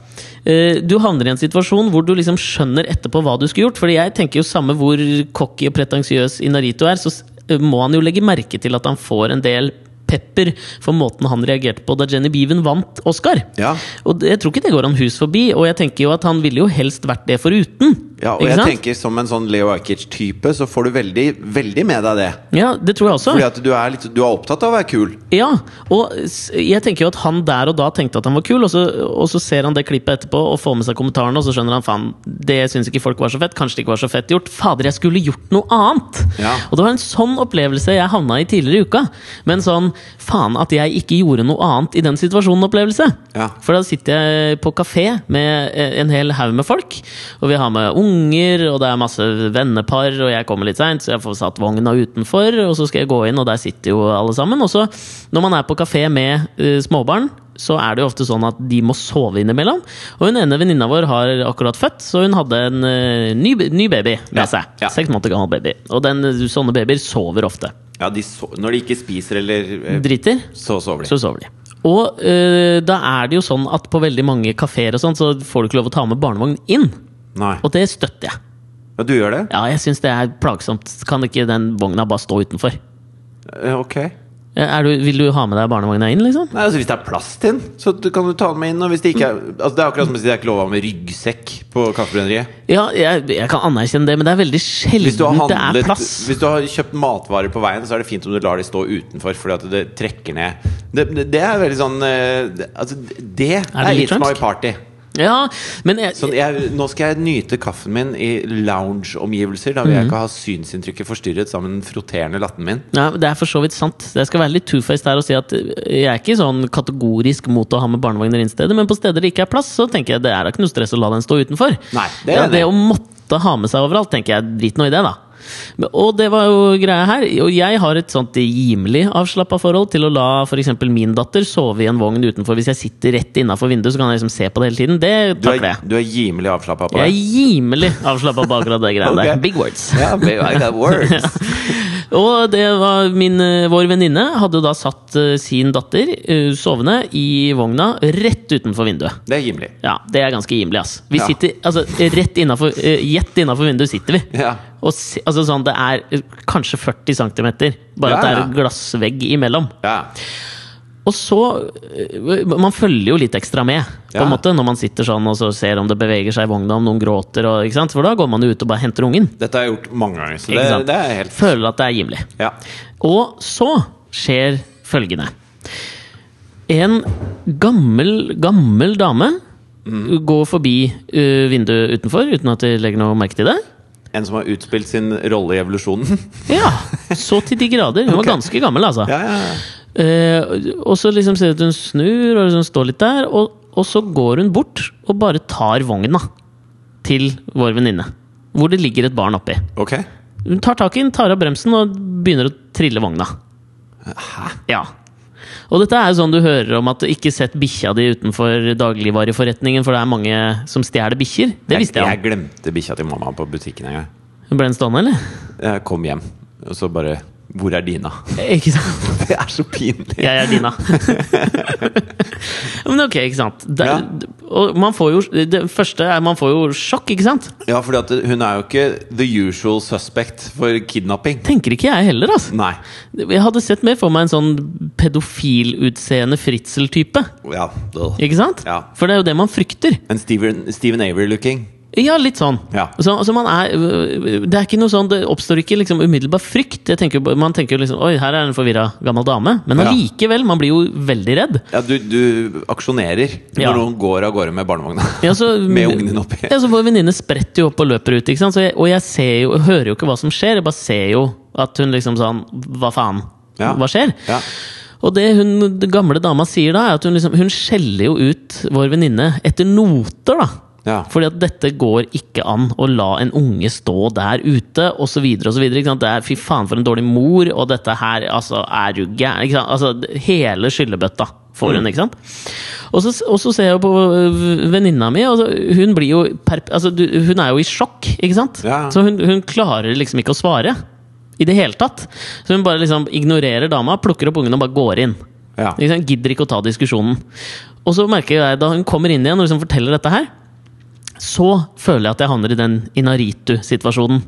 Speaker 2: eh, du havner i en situasjon hvor du liksom skjønner etterpå hva du skulle gjort. Fordi jeg tenker jo samme hvor cocky og pretensiøs Inarito er, så s- eh, må han jo legge merke til at han får en del pepper for måten han reagerte på da Jenny Beaven vant Oscar.
Speaker 1: Ja.
Speaker 2: Og det, jeg tror ikke det går han hus forbi, og jeg tenker jo at han ville jo helst vært det foruten.
Speaker 1: Ja, og
Speaker 2: ikke
Speaker 1: jeg
Speaker 2: sant?
Speaker 1: tenker Som en sånn Leo Ajkic-type så får du veldig, veldig med deg det.
Speaker 2: Ja, det tror jeg også.
Speaker 1: Fordi at du er, litt, du er opptatt av å være kul.
Speaker 2: Ja, og s- jeg tenker jo at han der og da tenkte at han var kul, og så, og så ser han det klippet etterpå og får med seg kommentarene, og så skjønner han faen, det syns ikke folk var så fett, kanskje det ikke var så fett gjort. Fader, jeg skulle gjort noe annet!
Speaker 1: Ja.
Speaker 2: Og det var en sånn opplevelse jeg havna i tidligere i uka. Men sånn faen at jeg ikke gjorde noe annet i den situasjonen-opplevelse.
Speaker 1: Ja.
Speaker 2: For da sitter jeg på kafé med eh, en hel haug med folk, og vi har med unger, og det er masse vennepar, og jeg kommer litt seint, så jeg får satt vogna utenfor, og så skal jeg gå inn, og der sitter jo alle sammen. Og så, når man er på kafé med eh, småbarn, så er det jo ofte sånn at de må sove innimellom. Og hun ene venninna vår har akkurat født, så hun hadde en eh, ny, ny baby med
Speaker 1: Ja,
Speaker 2: seg.
Speaker 1: ja.
Speaker 2: Seks måneder gammel baby. Og den, sånne babyer sover ofte.
Speaker 1: Ja, de so Når de ikke spiser eller eh,
Speaker 2: Driter,
Speaker 1: Så sover de.
Speaker 2: så sover de. Og eh, da er det jo sånn at på veldig mange kafeer og sånn, så får du ikke lov å ta med barnevogn inn.
Speaker 1: Nei.
Speaker 2: Og det støtter jeg.
Speaker 1: Ja, du gjør det?
Speaker 2: Ja, jeg syns det er plagsomt. Kan ikke den vogna bare stå utenfor?
Speaker 1: Eh, Ok.
Speaker 2: Eh, Er du, vil du ha med deg barnevogna inn, liksom?
Speaker 1: Nei, altså Hvis det er plass til den, så du- kan du ta den med inn. Og hvis det, ikke er, altså, det er akkurat som å si det er ikke lov å ha med ryggsekk på Kaffebrenneriet.
Speaker 2: Ja, jeg, jeg kan anerkjenne det, men det er veldig
Speaker 1: Hvis du, har
Speaker 2: sjelden det er
Speaker 1: handlet,
Speaker 2: plass.
Speaker 1: hvis du har kjøpt matvarer på veien, så er det fint om du lar de stå utenfor, fordi at det trekker ned. Det, det- det er veldig sånn eh, det- altså, Det er,
Speaker 2: litt
Speaker 1: litt my
Speaker 2: fransk?
Speaker 1: party.
Speaker 2: Ja, men jeg,
Speaker 1: Sånn, jeg, nå skal jeg nyte kaffen min i lounge-omgivelser. Da vil
Speaker 2: Mhm.
Speaker 1: jeg ikke ha synsinntrykket forstyrret sammen med den frotterende latten min.
Speaker 2: Nei, men Det er for så vidt sant. Jeg skal være litt two-faced her og si at jeg er ikke sånn kategorisk mot å ha med barnevogner inn stedet, men på steder det ikke er plass, så tenker jeg det er da ikke noe stress å la den stå utenfor.
Speaker 1: Nei, det er
Speaker 2: ja,
Speaker 1: jeg
Speaker 2: det
Speaker 1: enig i.
Speaker 2: å måtte ha med seg overalt, tenker jeg drit nå i det, da. Men- Og det var jo greia her. Og jeg har et sånt rimelig avslappa forhold til å la f.eks. min datter sove i en vogn utenfor. Hvis jeg sitter rett innafor vinduet, så kan jeg liksom se på det hele tiden. Det
Speaker 1: Du er,
Speaker 2: takler jeg.
Speaker 1: du er gimelig avslappa på
Speaker 2: Jeg er
Speaker 1: det.
Speaker 2: gimelig avslappa på akkurat det greiene
Speaker 1: Ok.
Speaker 2: der. Big words.
Speaker 1: Ja, baby, that works.
Speaker 2: Og det var min, eh, vår venninne hadde da satt eh, sin datter eh, sovende i vogna rett utenfor vinduet.
Speaker 1: Det er gimli.
Speaker 2: Ja, det er ganske gimlig, ass. Vi
Speaker 1: Ja.
Speaker 2: sitter altså, rett innafor Gjett innafor vinduet sitter vi.
Speaker 1: Ja.
Speaker 2: Og se, altså, sånn, det er eh, kanskje 40 cm, bare
Speaker 1: Ja,
Speaker 2: at det er
Speaker 1: ja.
Speaker 2: en glassvegg imellom.
Speaker 1: Ja.
Speaker 2: Og så øh, Man følger jo litt ekstra med på en
Speaker 1: Ja.
Speaker 2: måte når man sitter sånn og så ser om det beveger seg i vogna, om noen gråter. Og, ikke sant? For da går man jo ut og bare henter ungen.
Speaker 1: Dette har jeg gjort mange ganger, så det,
Speaker 2: Ikke sant?
Speaker 1: det er helt
Speaker 2: Føler at det er gimlig.
Speaker 1: Ja.
Speaker 2: Og så skjer følgende. En gammel, gammel dame går forbi øh, vinduet utenfor uten at de legger noe merke til det.
Speaker 1: En som har utspilt sin rolle i evolusjonen.
Speaker 2: Ja, Så til de grader. Hun var ganske gammel, altså.
Speaker 1: ja, ja, ja.
Speaker 2: Eh, og så liksom ser du at hun snur og liksom står litt der, og, og så går hun bort og bare tar vogna til vår venninne. Hvor det ligger et barn oppi.
Speaker 1: Ok.
Speaker 2: Hun tar tak i den, tar av bremsen og begynner å trille vogna.
Speaker 1: Hæ?
Speaker 2: Ja. Og dette er jo sånn du hører om at ikke sett bikkja di utenfor dagligvareforretningen, for det er mange som stjeler bikkjer. Det visste
Speaker 1: jeg,
Speaker 2: jeg.
Speaker 1: jeg glemte bikkja til mamma på butikken en gang.
Speaker 2: om. Ble den stående, eller?
Speaker 1: Jeg kom hjem, og så bare Hvor er Dina?
Speaker 2: Ikke sant?
Speaker 1: Det er så pinlig!
Speaker 2: Jeg er Dina. Men ok, ikke sant. Det,
Speaker 1: Ja.
Speaker 2: Og man får jo Det første er man får jo sjokk, ikke sant?
Speaker 1: Ja, fordi at hun er jo ikke the usual suspect for kidnapping.
Speaker 2: Tenker ikke jeg heller, altså.
Speaker 1: Nei.
Speaker 2: Jeg hadde sett mer for meg en sånn pedofilutseende fritzel-type.
Speaker 1: Ja. da-
Speaker 2: Ikke sant?
Speaker 1: Ja.
Speaker 2: For det er jo det man frykter.
Speaker 1: En Steven, Steven Avery-looking.
Speaker 2: Ja, litt sånn.
Speaker 1: Ja.
Speaker 2: Så, så man er, det er ikke noe sånn Det oppstår ikke liksom umiddelbar frykt. Jeg tenker, jo- man tenker jo liksom Oi, her er en forvirra gammel dame. Men
Speaker 1: Ja.
Speaker 2: allikevel, man blir jo veldig redd.
Speaker 1: Ja, du, du aksjonerer når
Speaker 2: Ja.
Speaker 1: noen går av gårde med barnevogna.
Speaker 2: Ja, så,
Speaker 1: Med ungen din oppi.
Speaker 2: Ja, så Vår venninne spretter jo opp og løper ut. Ikke sant? Så jeg, og jeg ser jo, og hører jo ikke hva som skjer, jeg bare ser jo at hun liksom sånn Hva faen?
Speaker 1: Ja.
Speaker 2: Hva skjer?
Speaker 1: Ja.
Speaker 2: Og det hun den gamle dama sier da, er at hun, liksom, hun skjeller jo ut vår venninne etter noter, da.
Speaker 1: Ja.
Speaker 2: Fordi at dette går ikke an å la en unge stå der ute, osv. osv. Det er fy faen for en dårlig mor, og dette her altså, er du gæren? ikke sant? Altså, hele skyllebøtta får
Speaker 1: Mm.
Speaker 2: hun, ikke sant? Og så, og så ser jeg jo på øh, venninna mi, og så, hun blir jo perp... Altså, du, hun er jo i sjokk, ikke sant?
Speaker 1: Ja.
Speaker 2: Så hun, hun klarer liksom ikke å svare. I det hele tatt. Så hun bare liksom ignorerer dama, plukker opp ungen og bare går inn.
Speaker 1: Ja.
Speaker 2: Ikke sant? Gidder ikke å ta diskusjonen. Og så merker jeg da hun kommer inn igjen og liksom forteller dette her, så føler jeg at jeg havner i den Inaritu-situasjonen.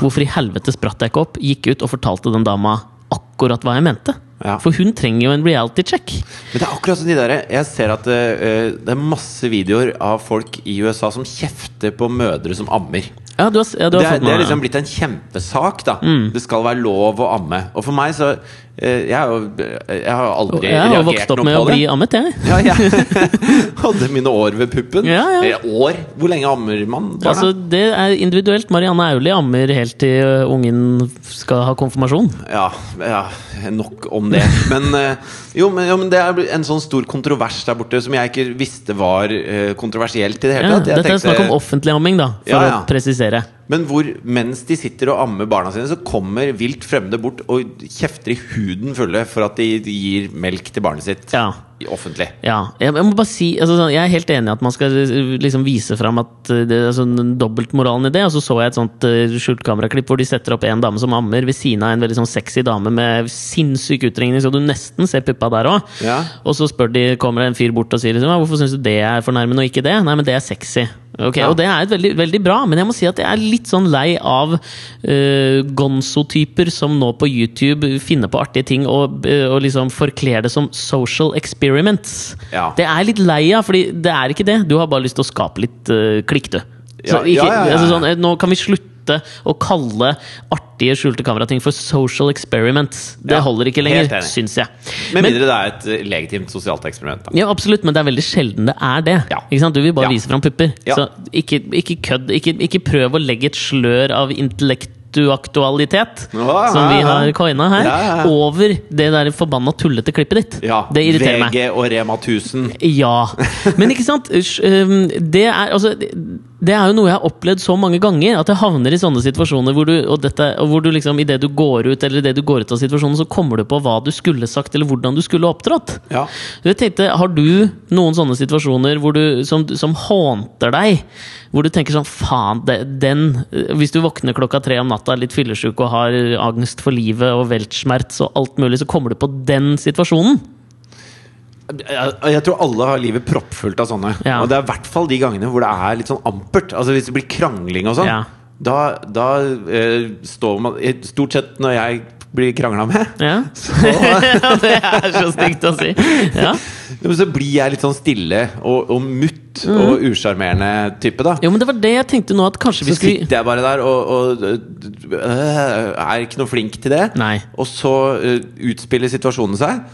Speaker 2: Hvorfor i helvete spratt jeg ikke opp, gikk ut og fortalte den dama akkurat hva jeg mente?
Speaker 1: Ja.
Speaker 2: For hun trenger jo en reality check.
Speaker 1: Men det er akkurat som de der Jeg ser at det, eh, det er masse videoer av folk i USA som kjefter på mødre som ammer.
Speaker 2: Ja, du har, s- ja, du
Speaker 1: Det er,
Speaker 2: har fått
Speaker 1: det
Speaker 2: Mm. med
Speaker 1: er
Speaker 2: deg
Speaker 1: liksom blitt en kjempesak, da. Det skal være lov å amme. Og for meg så eh, Jeg, er jo, jeg har aldri
Speaker 2: Jeg har jo
Speaker 1: reagert
Speaker 2: vokst opp
Speaker 1: noe
Speaker 2: med å
Speaker 1: på det.
Speaker 2: bli ammet, jeg.
Speaker 1: Ja, jeg hadde mine år ved puppen.
Speaker 2: Ja, ja.
Speaker 1: Eller år? Hvor lenge ammer man barna?
Speaker 2: Altså, det er individuelt. Marianne Aulie ammer helt til ø, ungen skal ha konfirmasjon.
Speaker 1: ja, ja, nok om det. Men, eh, jo, men, jo, men det er en sånn stor kontrovers der borte som jeg ikke visste var eh, kontroversielt i det hele
Speaker 2: Ja,
Speaker 1: tatt. Jeg
Speaker 2: dette er
Speaker 1: tenkte-
Speaker 2: snakk om offentlig amming, da, for
Speaker 1: Ja, ja.
Speaker 2: å presisere.
Speaker 1: Men hvor, mens de sitter og ammer barna sine, så kommer vilt fremmede bort og kjefter i huden fulle for at de gir melk til barnet sitt
Speaker 2: Ja.
Speaker 1: i offentlig.
Speaker 2: Ja, jeg, jeg må bare si altså, sånn, Jeg er helt enig i at man skal eh, liksom vise fram at eh, det er sånn dobbeltmoralen i det. Og så så jeg et sånt eh, skjult kameraklipp hvor de setter opp en dame som ammer ved siden av en veldig sånn sexy dame med sinnssyk utringning, så du nesten ser puppa der òg.
Speaker 1: Ja.
Speaker 2: Og så spør de, kommer det en fyr bort og sier liksom, «Ja, hvorfor syns du det er fornærmende og ikke det? Nei, men det er sexy. Ok,
Speaker 1: Ja.
Speaker 2: Og det er et veldig, veldig bra, men jeg må si at jeg er litt sånn lei av øh, gonzo-typer som nå på YouTube finner på artige ting og, øh, og liksom forkler det som social experiments.
Speaker 1: Ja.
Speaker 2: Det er jeg litt lei av, fordi det er ikke det. Du har bare lyst til å skape litt øh, klikk, du. Så
Speaker 1: Ja,
Speaker 2: ikke,
Speaker 1: ja, ja, ja.
Speaker 2: Altså sånn, eh, nå kan vi slutte å kalle artige skjulte kamerating for social experiments. Det
Speaker 1: Ja,
Speaker 2: holder ikke
Speaker 1: helt
Speaker 2: lenger,
Speaker 1: enig.
Speaker 2: syns jeg.
Speaker 1: Med
Speaker 2: Men-
Speaker 1: mindre det er et eh, legitimt sosialt eksperiment. Da.
Speaker 2: ja, absolutt, men det er veldig sjelden det er det.
Speaker 1: Ja.
Speaker 2: Ikke sant? Du vil bare
Speaker 1: Ja.
Speaker 2: vise fram pupper.
Speaker 1: Ja.
Speaker 2: Så ikke, ikke kødd. Ikke, ikke prøv å legge et slør av intellektuaktualitet,
Speaker 1: Ja,
Speaker 2: som vi
Speaker 1: ja, ja.
Speaker 2: har coina her,
Speaker 1: Ja, ja.
Speaker 2: over det der forbanna tullete klippet ditt.
Speaker 1: Ja,
Speaker 2: Det irriterer meg.
Speaker 1: VG og Rema 1000.
Speaker 2: Ja. Men ikke sant? Usch, øhm, Det er altså det- det er jo noe jeg har opplevd så mange ganger. At jeg havner i sånne situasjoner hvor du, og dette, og hvor du liksom, i det du går ut Eller i det du går ut av situasjonen, så kommer du på hva du skulle sagt, eller hvordan du skulle opptrådt.
Speaker 1: Ja.
Speaker 2: Så Jeg tenkte, Har du noen sånne situasjoner hvor du, som, som hånter deg? Hvor du tenker sånn Faen, det- den Hvis du våkner klokka tre om natta, er litt fyllesyk og har angst for livet og veltsmerts og alt mulig, så kommer du på den situasjonen?
Speaker 1: Jeg, jeg tror alle har livet proppfullt av sånne.
Speaker 2: Ja.
Speaker 1: Og det er i hvert fall de gangene hvor det er litt sånn ampert. Altså Hvis det blir krangling og sånn.
Speaker 2: Ja.
Speaker 1: Da, da eh, står man Stort sett når jeg blir krangla med,
Speaker 2: Ja. ja, det er så stygt å si. Ja.
Speaker 1: så blir jeg litt sånn stille og, og mutt
Speaker 2: Mhm.
Speaker 1: og usjarmerende type, da.
Speaker 2: Jo, men det var det jeg tenkte nå, at kanskje vi
Speaker 1: Så
Speaker 2: skulle
Speaker 1: sitter jeg bare der og, og øh, er ikke noe flink til det.
Speaker 2: Nei.
Speaker 1: Og så øh, utspiller situasjonen seg.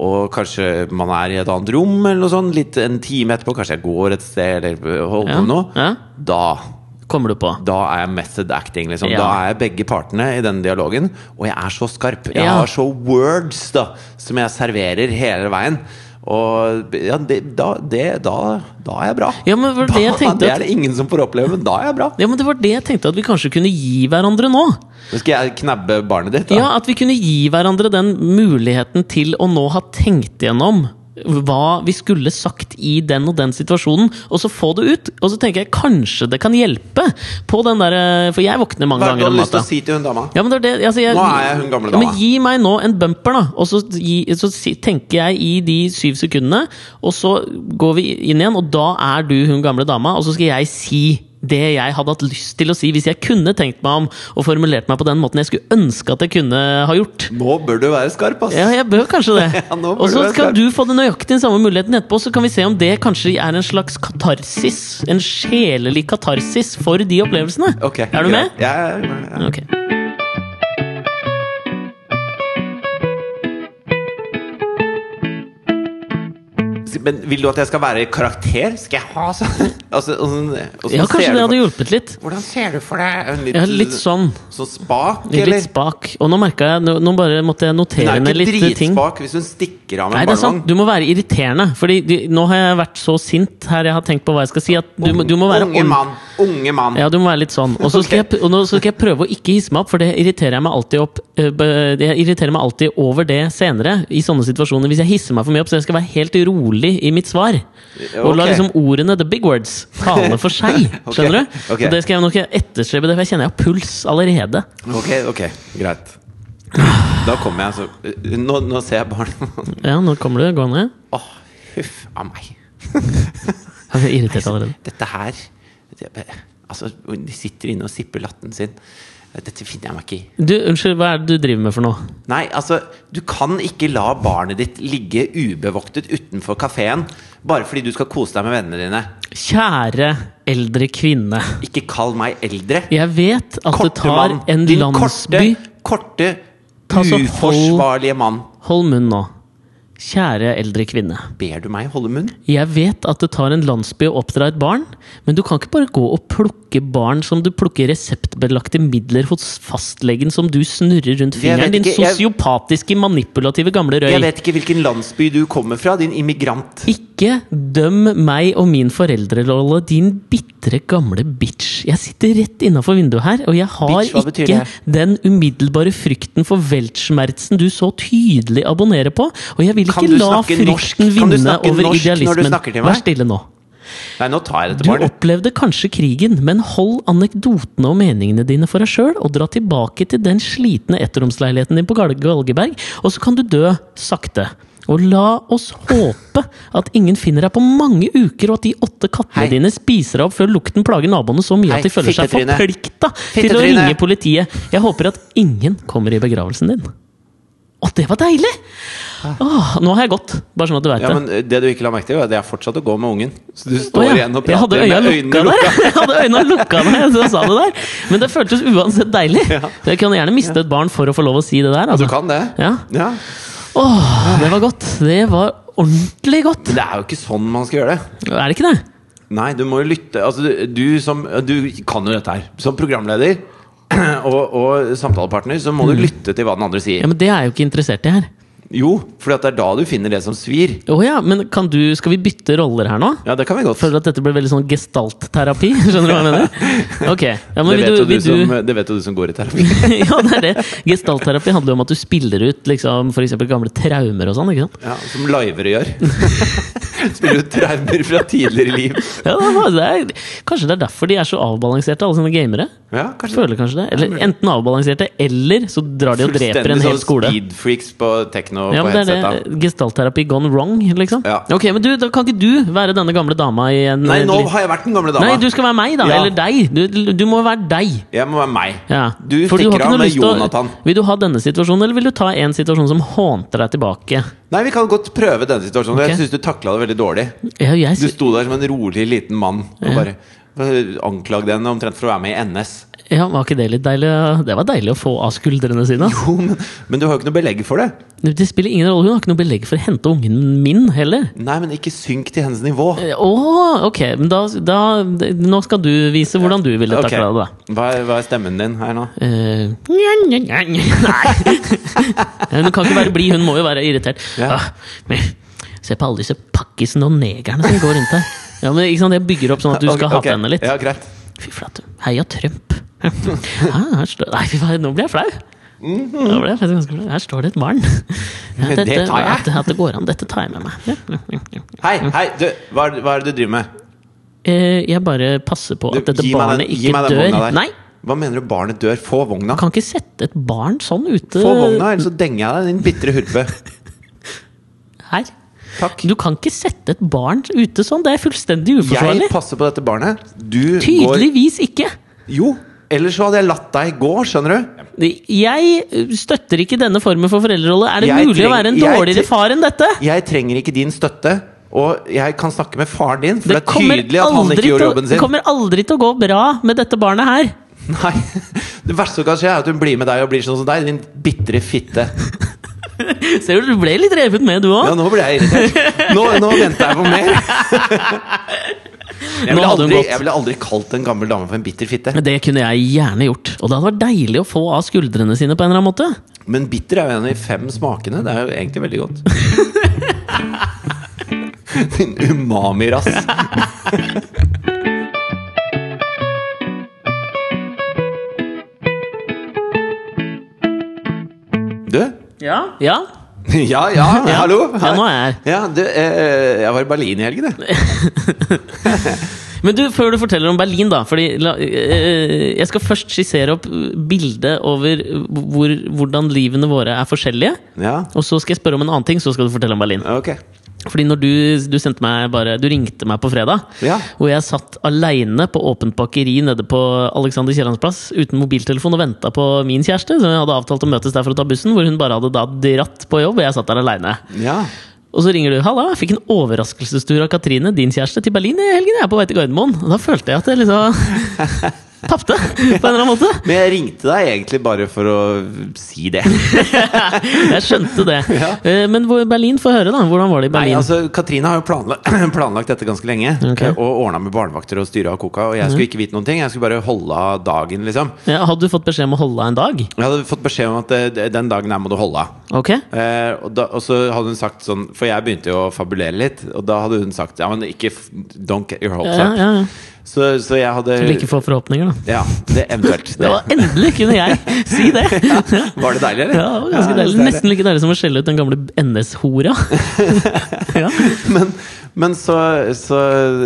Speaker 1: Og kanskje man er i et annet rom eller noe sånt. Litt en time etterpå. Kanskje jeg går et sted eller øh, holder
Speaker 2: Ja,
Speaker 1: på med noe.
Speaker 2: ja.
Speaker 1: Da,
Speaker 2: Kommer du på?
Speaker 1: da er jeg method acting. Liksom.
Speaker 2: Ja.
Speaker 1: Da er jeg begge partene i den dialogen. Og jeg er så skarp. Jeg
Speaker 2: Ja.
Speaker 1: har så words da som jeg serverer hele veien. Og ja, det, da, det, da, da er jeg bra.
Speaker 2: Ja, men det var det jeg
Speaker 1: da,
Speaker 2: tenkte
Speaker 1: det
Speaker 2: at-
Speaker 1: er det ingen som får oppleve, men da er jeg bra.
Speaker 2: Ja, men det var det jeg tenkte at vi kanskje kunne gi hverandre nå.
Speaker 1: Nå skal jeg knabbe barnet ditt, da.
Speaker 2: Ja, At vi kunne gi hverandre den muligheten til å nå ha tenkt gjennom hva vi skulle sagt i den og den situasjonen, og så få det ut. Og så tenker jeg kanskje det kan hjelpe på den derre For jeg våkner mange
Speaker 1: Hva er det du
Speaker 2: ganger
Speaker 1: har
Speaker 2: om
Speaker 1: lyst til
Speaker 2: natta.
Speaker 1: å si til hun dama?
Speaker 2: Ja, men det er det, altså jeg,
Speaker 1: Nå er jeg hun gamle
Speaker 2: Ja, Men
Speaker 1: dama.
Speaker 2: gi meg nå en bumper, da. Og så, gi, så si, tenker jeg i de syv sekundene, og så går vi inn igjen, og da er du hun gamle dama, og så skal jeg si det jeg hadde hatt lyst til å si hvis jeg kunne tenkt meg om og formulert meg på den måten jeg skulle ønske at jeg kunne ha gjort.
Speaker 1: Nå bør du være skarp, ass!
Speaker 2: Ja, jeg bør kanskje det.
Speaker 1: Ja, nå bør
Speaker 2: og så
Speaker 1: du være
Speaker 2: skal
Speaker 1: skarp.
Speaker 2: du få den nøyaktig den samme muligheten etterpå, så kan vi se om det kanskje er en slags katarsis. En sjelelig katarsis for de opplevelsene.
Speaker 1: Ok,
Speaker 2: er du med?
Speaker 1: greit. Jeg er med, ja.
Speaker 2: Ok.
Speaker 1: Men vil du at jeg skal være i karakter? Skal jeg ha sånn altså, og sånn- og sånn
Speaker 2: Ja, kanskje
Speaker 1: ser
Speaker 2: det
Speaker 1: du
Speaker 2: hadde
Speaker 1: for-
Speaker 2: hjulpet litt.
Speaker 1: Hvordan ser du for deg en litt,
Speaker 2: Ja, litt sånn.
Speaker 1: sånn spak, eller?
Speaker 2: Litt spak. Og nå merket jeg Nå, nå bare måtte jeg
Speaker 1: Hun
Speaker 2: notere
Speaker 1: er
Speaker 2: ned litt eh,
Speaker 1: jo ikke
Speaker 2: ting.
Speaker 1: dritspak hvis hun stikker av med
Speaker 2: Nei,
Speaker 1: en
Speaker 2: det er sant.
Speaker 1: barnevogn.
Speaker 2: Du må være irriterende. Fordi de, nå har jeg vært så sint her jeg har tenkt på hva jeg skal si, at du, må- du må være
Speaker 1: Unge
Speaker 2: ordent-
Speaker 1: mann. Unge mann.
Speaker 2: Ja, du må være litt sånn. Og så skal,
Speaker 1: Ok.
Speaker 2: jeg, og nå skal jeg prøve å ikke hisse meg opp, for det irriterer jeg meg alltid opp eh, be- Jeg irriterer meg alltid over det senere, i sånne situasjoner. Hvis jeg hisser meg for mye opp, så jeg skal være helt rolig i mitt svar. Og la
Speaker 1: Eh, Ok.
Speaker 2: liksom ordene, the big words, tale for seg.
Speaker 1: Ok,
Speaker 2: Skjønner du?
Speaker 1: ok.
Speaker 2: Og det skal jeg nok etterstrebe, det, for jeg kjenner jeg har puls allerede.
Speaker 1: Ok, ok, greit. Da kommer jeg, så Nå, nå ser jeg barnet.
Speaker 2: Ja, nå kommer du gående.
Speaker 1: Åh, huff a meg.
Speaker 2: Jeg er irritert allerede.
Speaker 1: Dette her det, Altså, de sitter inne og sipper latten sin. Dette finner jeg meg ikke i.
Speaker 2: Du, unnskyld, hva er det du driver med for noe?
Speaker 1: Nei, altså, du kan ikke la barnet ditt ligge ubevoktet utenfor kafeen bare fordi du skal kose deg med vennene dine.
Speaker 2: Kjære eldre kvinne.
Speaker 1: Ikke kall meg eldre.
Speaker 2: Jeg vet at det
Speaker 1: Korte
Speaker 2: tar
Speaker 1: mann.
Speaker 2: en
Speaker 1: Din
Speaker 2: landsby
Speaker 1: korte,
Speaker 2: Ta så
Speaker 1: korte
Speaker 2: hold-
Speaker 1: uforsvarlige mann.
Speaker 2: Hold munn nå. Kjære eldre kvinne.
Speaker 1: Ber du meg holde munn?
Speaker 2: Jeg vet at det tar en landsby å oppdra et barn, men du kan ikke bare gå og plukke barn som du plukker reseptbelagte midler hos fastlegen som du snurrer rundt
Speaker 1: Jeg vet
Speaker 2: fingeren. Din
Speaker 1: ikke, jeg-
Speaker 2: sosiopatiske, manipulative gamle
Speaker 1: Jeg
Speaker 2: røy.
Speaker 1: vet ikke hvilken landsby du kommer fra, din immigrant.
Speaker 2: Ikke døm meg og min foreldrerolle, din bitre gamle bitch. Jeg sitter rett innafor vinduet her, og jeg har
Speaker 1: Bitch, hva betyr
Speaker 2: ikke den umiddelbare frykten for weltschmerzen du så tydelig abonnerer på, og jeg vil
Speaker 1: Kan
Speaker 2: ikke
Speaker 1: du
Speaker 2: la
Speaker 1: snakke norsk?
Speaker 2: frykten
Speaker 1: Kan du
Speaker 2: vinne
Speaker 1: snakke norsk
Speaker 2: over
Speaker 1: når du
Speaker 2: idealismen.
Speaker 1: snakker til meg?
Speaker 2: Vær stille nå.
Speaker 1: Nei, nå tar jeg dette
Speaker 2: Du
Speaker 1: barnet.
Speaker 2: opplevde kanskje krigen, men hold anekdotene og meningene dine for deg sjøl, og dra tilbake til den slitne ettromsleiligheten din på Gal- Galgeberg, og så kan du dø sakte. Og la oss håpe at ingen finner deg på mange uker, og at de åtte kattene
Speaker 1: Hei.
Speaker 2: dine spiser deg opp før lukten plager naboene så mye
Speaker 1: Hei,
Speaker 2: at de føler seg
Speaker 1: fittetryne.
Speaker 2: forplikta til å
Speaker 1: Fittetryne.
Speaker 2: ringe politiet. Jeg håper at ingen kommer i begravelsen din. Å, det var deilig! Åh, nå har jeg gått, bare sånn at du veit
Speaker 1: Ah. Ja,
Speaker 2: det.
Speaker 1: men eh, det du ikke la merke til, var at jeg fortsatte å gå med ungen. Så du står
Speaker 2: Å ja,
Speaker 1: igjen og
Speaker 2: jeg hadde
Speaker 1: prater
Speaker 2: øya
Speaker 1: med øynene
Speaker 2: lukka der!
Speaker 1: lukka.
Speaker 2: Jeg hadde øynene lukka der, så jeg sa det der. Men det føltes uansett deilig. Jeg kan gjerne miste et barn for å få lov å si det der.
Speaker 1: Du
Speaker 2: Altså.
Speaker 1: kan det?
Speaker 2: Ja.
Speaker 1: Ja.
Speaker 2: Åh, det var godt. Det var ordentlig godt.
Speaker 1: Men det er jo ikke sånn man skal gjøre det.
Speaker 2: Er det ikke det?
Speaker 1: Nei, du må jo lytte altså, du, du, som, du kan jo dette her Som programleder og, og samtalepartner Så må du lytte til hva den andre
Speaker 2: Ja,
Speaker 1: sier
Speaker 2: Men det er jeg jo ikke interessert i her.
Speaker 1: Jo, for det er da du finner det som svir.
Speaker 2: Å ja, men kan du, skal vi bytte roller her nå?
Speaker 1: Ja, det kan vi godt.
Speaker 2: Føler at dette blir veldig sånn gestaltterapi? Skjønner du hva jeg mener? Ok, ja, men
Speaker 1: det,
Speaker 2: vil
Speaker 1: vet
Speaker 2: du,
Speaker 1: jo du
Speaker 2: vil du
Speaker 1: som, eh, det vet jo du som går i terapi.
Speaker 2: ja, det er det. Gestaltterapi handler jo om at du spiller ut liksom, for eksempel gamle traumer og sånn. ikke sant?
Speaker 1: Ja, som livere gjør. Spiller ut traumer fra tidligere liv.
Speaker 2: Ja, det er- det er, kanskje det er derfor de er så avbalanserte, alle sine gamere.
Speaker 1: Ja, kanskje
Speaker 2: Føler kanskje det. Eller enten avbalanserte, eller så drar de og dreper en hel skole.
Speaker 1: speedfreaks på tekno
Speaker 2: Ja,
Speaker 1: sånn på
Speaker 2: men det er
Speaker 1: headsetta.
Speaker 2: det. Gestaltterapi gone wrong, liksom.
Speaker 1: Ja.
Speaker 2: Ok, men du, da kan ikke du være denne gamle dama i en
Speaker 1: Nei, nå
Speaker 2: litt-
Speaker 1: har jeg vært den gamle dama.
Speaker 2: Nei, du skal være meg, da.
Speaker 1: Ja.
Speaker 2: Eller deg. Du, du må være deg.
Speaker 1: Jeg må være meg.
Speaker 2: Ja.
Speaker 1: Du
Speaker 2: For har
Speaker 1: stikker
Speaker 2: ikke
Speaker 1: av
Speaker 2: noe
Speaker 1: med
Speaker 2: lyst til å-
Speaker 1: Jonathan.
Speaker 2: Vil du ha denne situasjonen, eller vil du ta en situasjon som hånter deg tilbake?
Speaker 1: Nei, vi kan godt prøve denne situasjonen.
Speaker 2: Ok.
Speaker 1: Jeg syns du takla det veldig dårlig.
Speaker 2: Ja, jeg,
Speaker 1: Du
Speaker 2: sy-
Speaker 1: sto der som en rolig liten mann og bare anklagde henne omtrent for å være med i NS.
Speaker 2: ja, var ikke det litt deilig? å- Det var deilig å få av skuldrene sine. ass.
Speaker 1: Jo, men, men du har jo ikke noe belegg for det.
Speaker 2: Det spiller ingen rolle, hun har ikke noe belegg for å hente ungen min heller.
Speaker 1: Nei, men ikke synk til hennes nivå.
Speaker 2: Eh, Åh, ok, men da, da Nå skal du vise hvordan du ville
Speaker 1: Ok.
Speaker 2: takla det, da.
Speaker 1: Hva er, hva er stemmen din her nå?
Speaker 2: Eh, nja, nja, nja, nja. Nei! Eh, Hun kan ikke være blid, hun må jo være irritert.
Speaker 1: Ja.
Speaker 2: Ah, men, se på alle disse pakkisene og negerne som går rundt her. Ja, men ikke sant, Jeg bygger opp sånn at du skal
Speaker 1: Ok, ok.
Speaker 2: hate henne litt.
Speaker 1: Ja, greit.
Speaker 2: Fy flate. Heia Trump. Ah, her står, nei, fy faen, nå blir jeg flau! Nå ble jeg faktisk ganske flau. Her står det et barn. Ja,
Speaker 1: Mhm. Det tar jeg.
Speaker 2: At, at det går an. Dette tar jeg med meg. Ja, ja, ja, ja.
Speaker 1: Hei, hei, du, hva er, hva er det du driver med?
Speaker 2: Eh, Jeg bare passer på at
Speaker 1: Du,
Speaker 2: dette
Speaker 1: gi meg den-
Speaker 2: barnet
Speaker 1: gi meg
Speaker 2: ikke
Speaker 1: den vogna
Speaker 2: dør.
Speaker 1: der.
Speaker 2: Nei!
Speaker 1: Hva mener du barnet dør? Få vogna.
Speaker 2: Kan ikke sette et barn sånn ute
Speaker 1: Få vogna, eller så denger jeg deg, din bitre hurpe.
Speaker 2: her.
Speaker 1: Takk.
Speaker 2: Du kan ikke sette et barn ute sånn. Det er fullstendig uforsvarlig.
Speaker 1: Jeg passer på dette barnet. Du går
Speaker 2: Tydeligvis ikke.
Speaker 1: Jo, ellers så hadde jeg latt deg gå, skjønner du?
Speaker 2: Jeg ø, støtter ikke denne formen for foreldrerolle. Er det
Speaker 1: Jeg
Speaker 2: mulig å
Speaker 1: treng-
Speaker 2: være en
Speaker 1: jeg
Speaker 2: dårligere
Speaker 1: tre-
Speaker 2: far enn dette?
Speaker 1: Jeg trenger ikke din støtte, og jeg kan snakke med faren din, for det, er
Speaker 2: Det kommer,
Speaker 1: tydelig at han
Speaker 2: aldri
Speaker 1: ikke gjorde
Speaker 2: til, å-
Speaker 1: jobben
Speaker 2: det
Speaker 1: sin.
Speaker 2: kommer aldri til å gå bra med dette barnet her.
Speaker 1: Nei, Det verste som kan skje, er at hun blir med deg og blir sånn som deg, din bitre fitte.
Speaker 2: Ser du, du ble litt revet med, du
Speaker 1: Ja,
Speaker 2: òg.
Speaker 1: nå ble jeg irritert. Nå, nå venter jeg på mer. Jeg
Speaker 2: Nå
Speaker 1: ville,
Speaker 2: hadde hun
Speaker 1: aldri,
Speaker 2: gått.
Speaker 1: jeg ville aldri kalt en gammel dame for en bitter fitte.
Speaker 2: Det kunne jeg gjerne gjort. Og det hadde vært deilig å få av skuldrene sine på en eller annen måte.
Speaker 1: Men bitter er jo en av de fem smakene. Det er jo egentlig veldig godt. Din umami-rass. Du?
Speaker 2: Ja. Ja,
Speaker 1: Ja, ja, hallo?
Speaker 2: ja nå er jeg her.
Speaker 1: Ja, du, eh, jeg var i Berlin i helgen, jeg.
Speaker 2: Men du, før du forteller om Berlin, da fordi, la, eh, Jeg skal først skissere opp eh, bildet over hvor, hvordan livene våre er forskjellige.
Speaker 1: Ja,
Speaker 2: Og så skal jeg spørre om en annen ting, så skal du fortelle om Berlin.
Speaker 1: ok.
Speaker 2: Fordi når du, du sendte meg bare Du ringte meg på fredag,
Speaker 1: Ja.
Speaker 2: og jeg satt aleine på åpent bakeri nede på Alexander Kiellands plass uten mobiltelefon og venta på min kjæreste, som jeg hadde avtalt å møtes der for å ta bussen, hvor hun bare hadde da dratt på jobb, og jeg satt der aleine.
Speaker 1: Ja.
Speaker 2: Og så ringer du 'Halla, jeg fikk en overraskelsestur av Katrine, din kjæreste, til Berlin i helgen. Jeg er på vei til Gardermoen.' Og da følte jeg at jeg liksom tapte, på en eller annen måte.
Speaker 1: Men jeg ringte deg egentlig bare for å si det.
Speaker 2: Jeg skjønte det.
Speaker 1: Ja.
Speaker 2: Eh, Men hvor- Berlin, få høre, da. Hvordan var det i
Speaker 1: Nei,
Speaker 2: Berlin?
Speaker 1: altså, Katrine har jo planlagt, planlagt dette ganske lenge.
Speaker 2: Ok. Mhm.
Speaker 1: eh, Og ordna med barnevakter og styra og koka. Og jeg skulle ikke vite noen ting. Jeg skulle bare holde av dagen, liksom.
Speaker 2: ja, hadde du fått beskjed om å holde deg en dag?
Speaker 1: Jeg hadde fått beskjed om at eh, den dagen her må du holde av.
Speaker 2: Ok?
Speaker 1: Eh, og, da, og så hadde hun sagt sånn For jeg begynte jo å fabulere litt. Og da hadde hun sagt Ja, men ikke f- Don't get your hopes
Speaker 2: Ja,
Speaker 1: up.
Speaker 2: ja, ja.
Speaker 1: Så, så jeg hadde
Speaker 2: Like få forhåpninger, da.
Speaker 1: Ja, det eventuelt.
Speaker 2: Det var Eh, endelig kunne jeg si det!
Speaker 1: Var det deilig, eller?
Speaker 2: Ja, det var ganske deilig. Nesten like deilig som å skjelle ut den gamle NS-hora. Ja.
Speaker 1: Men, men så, så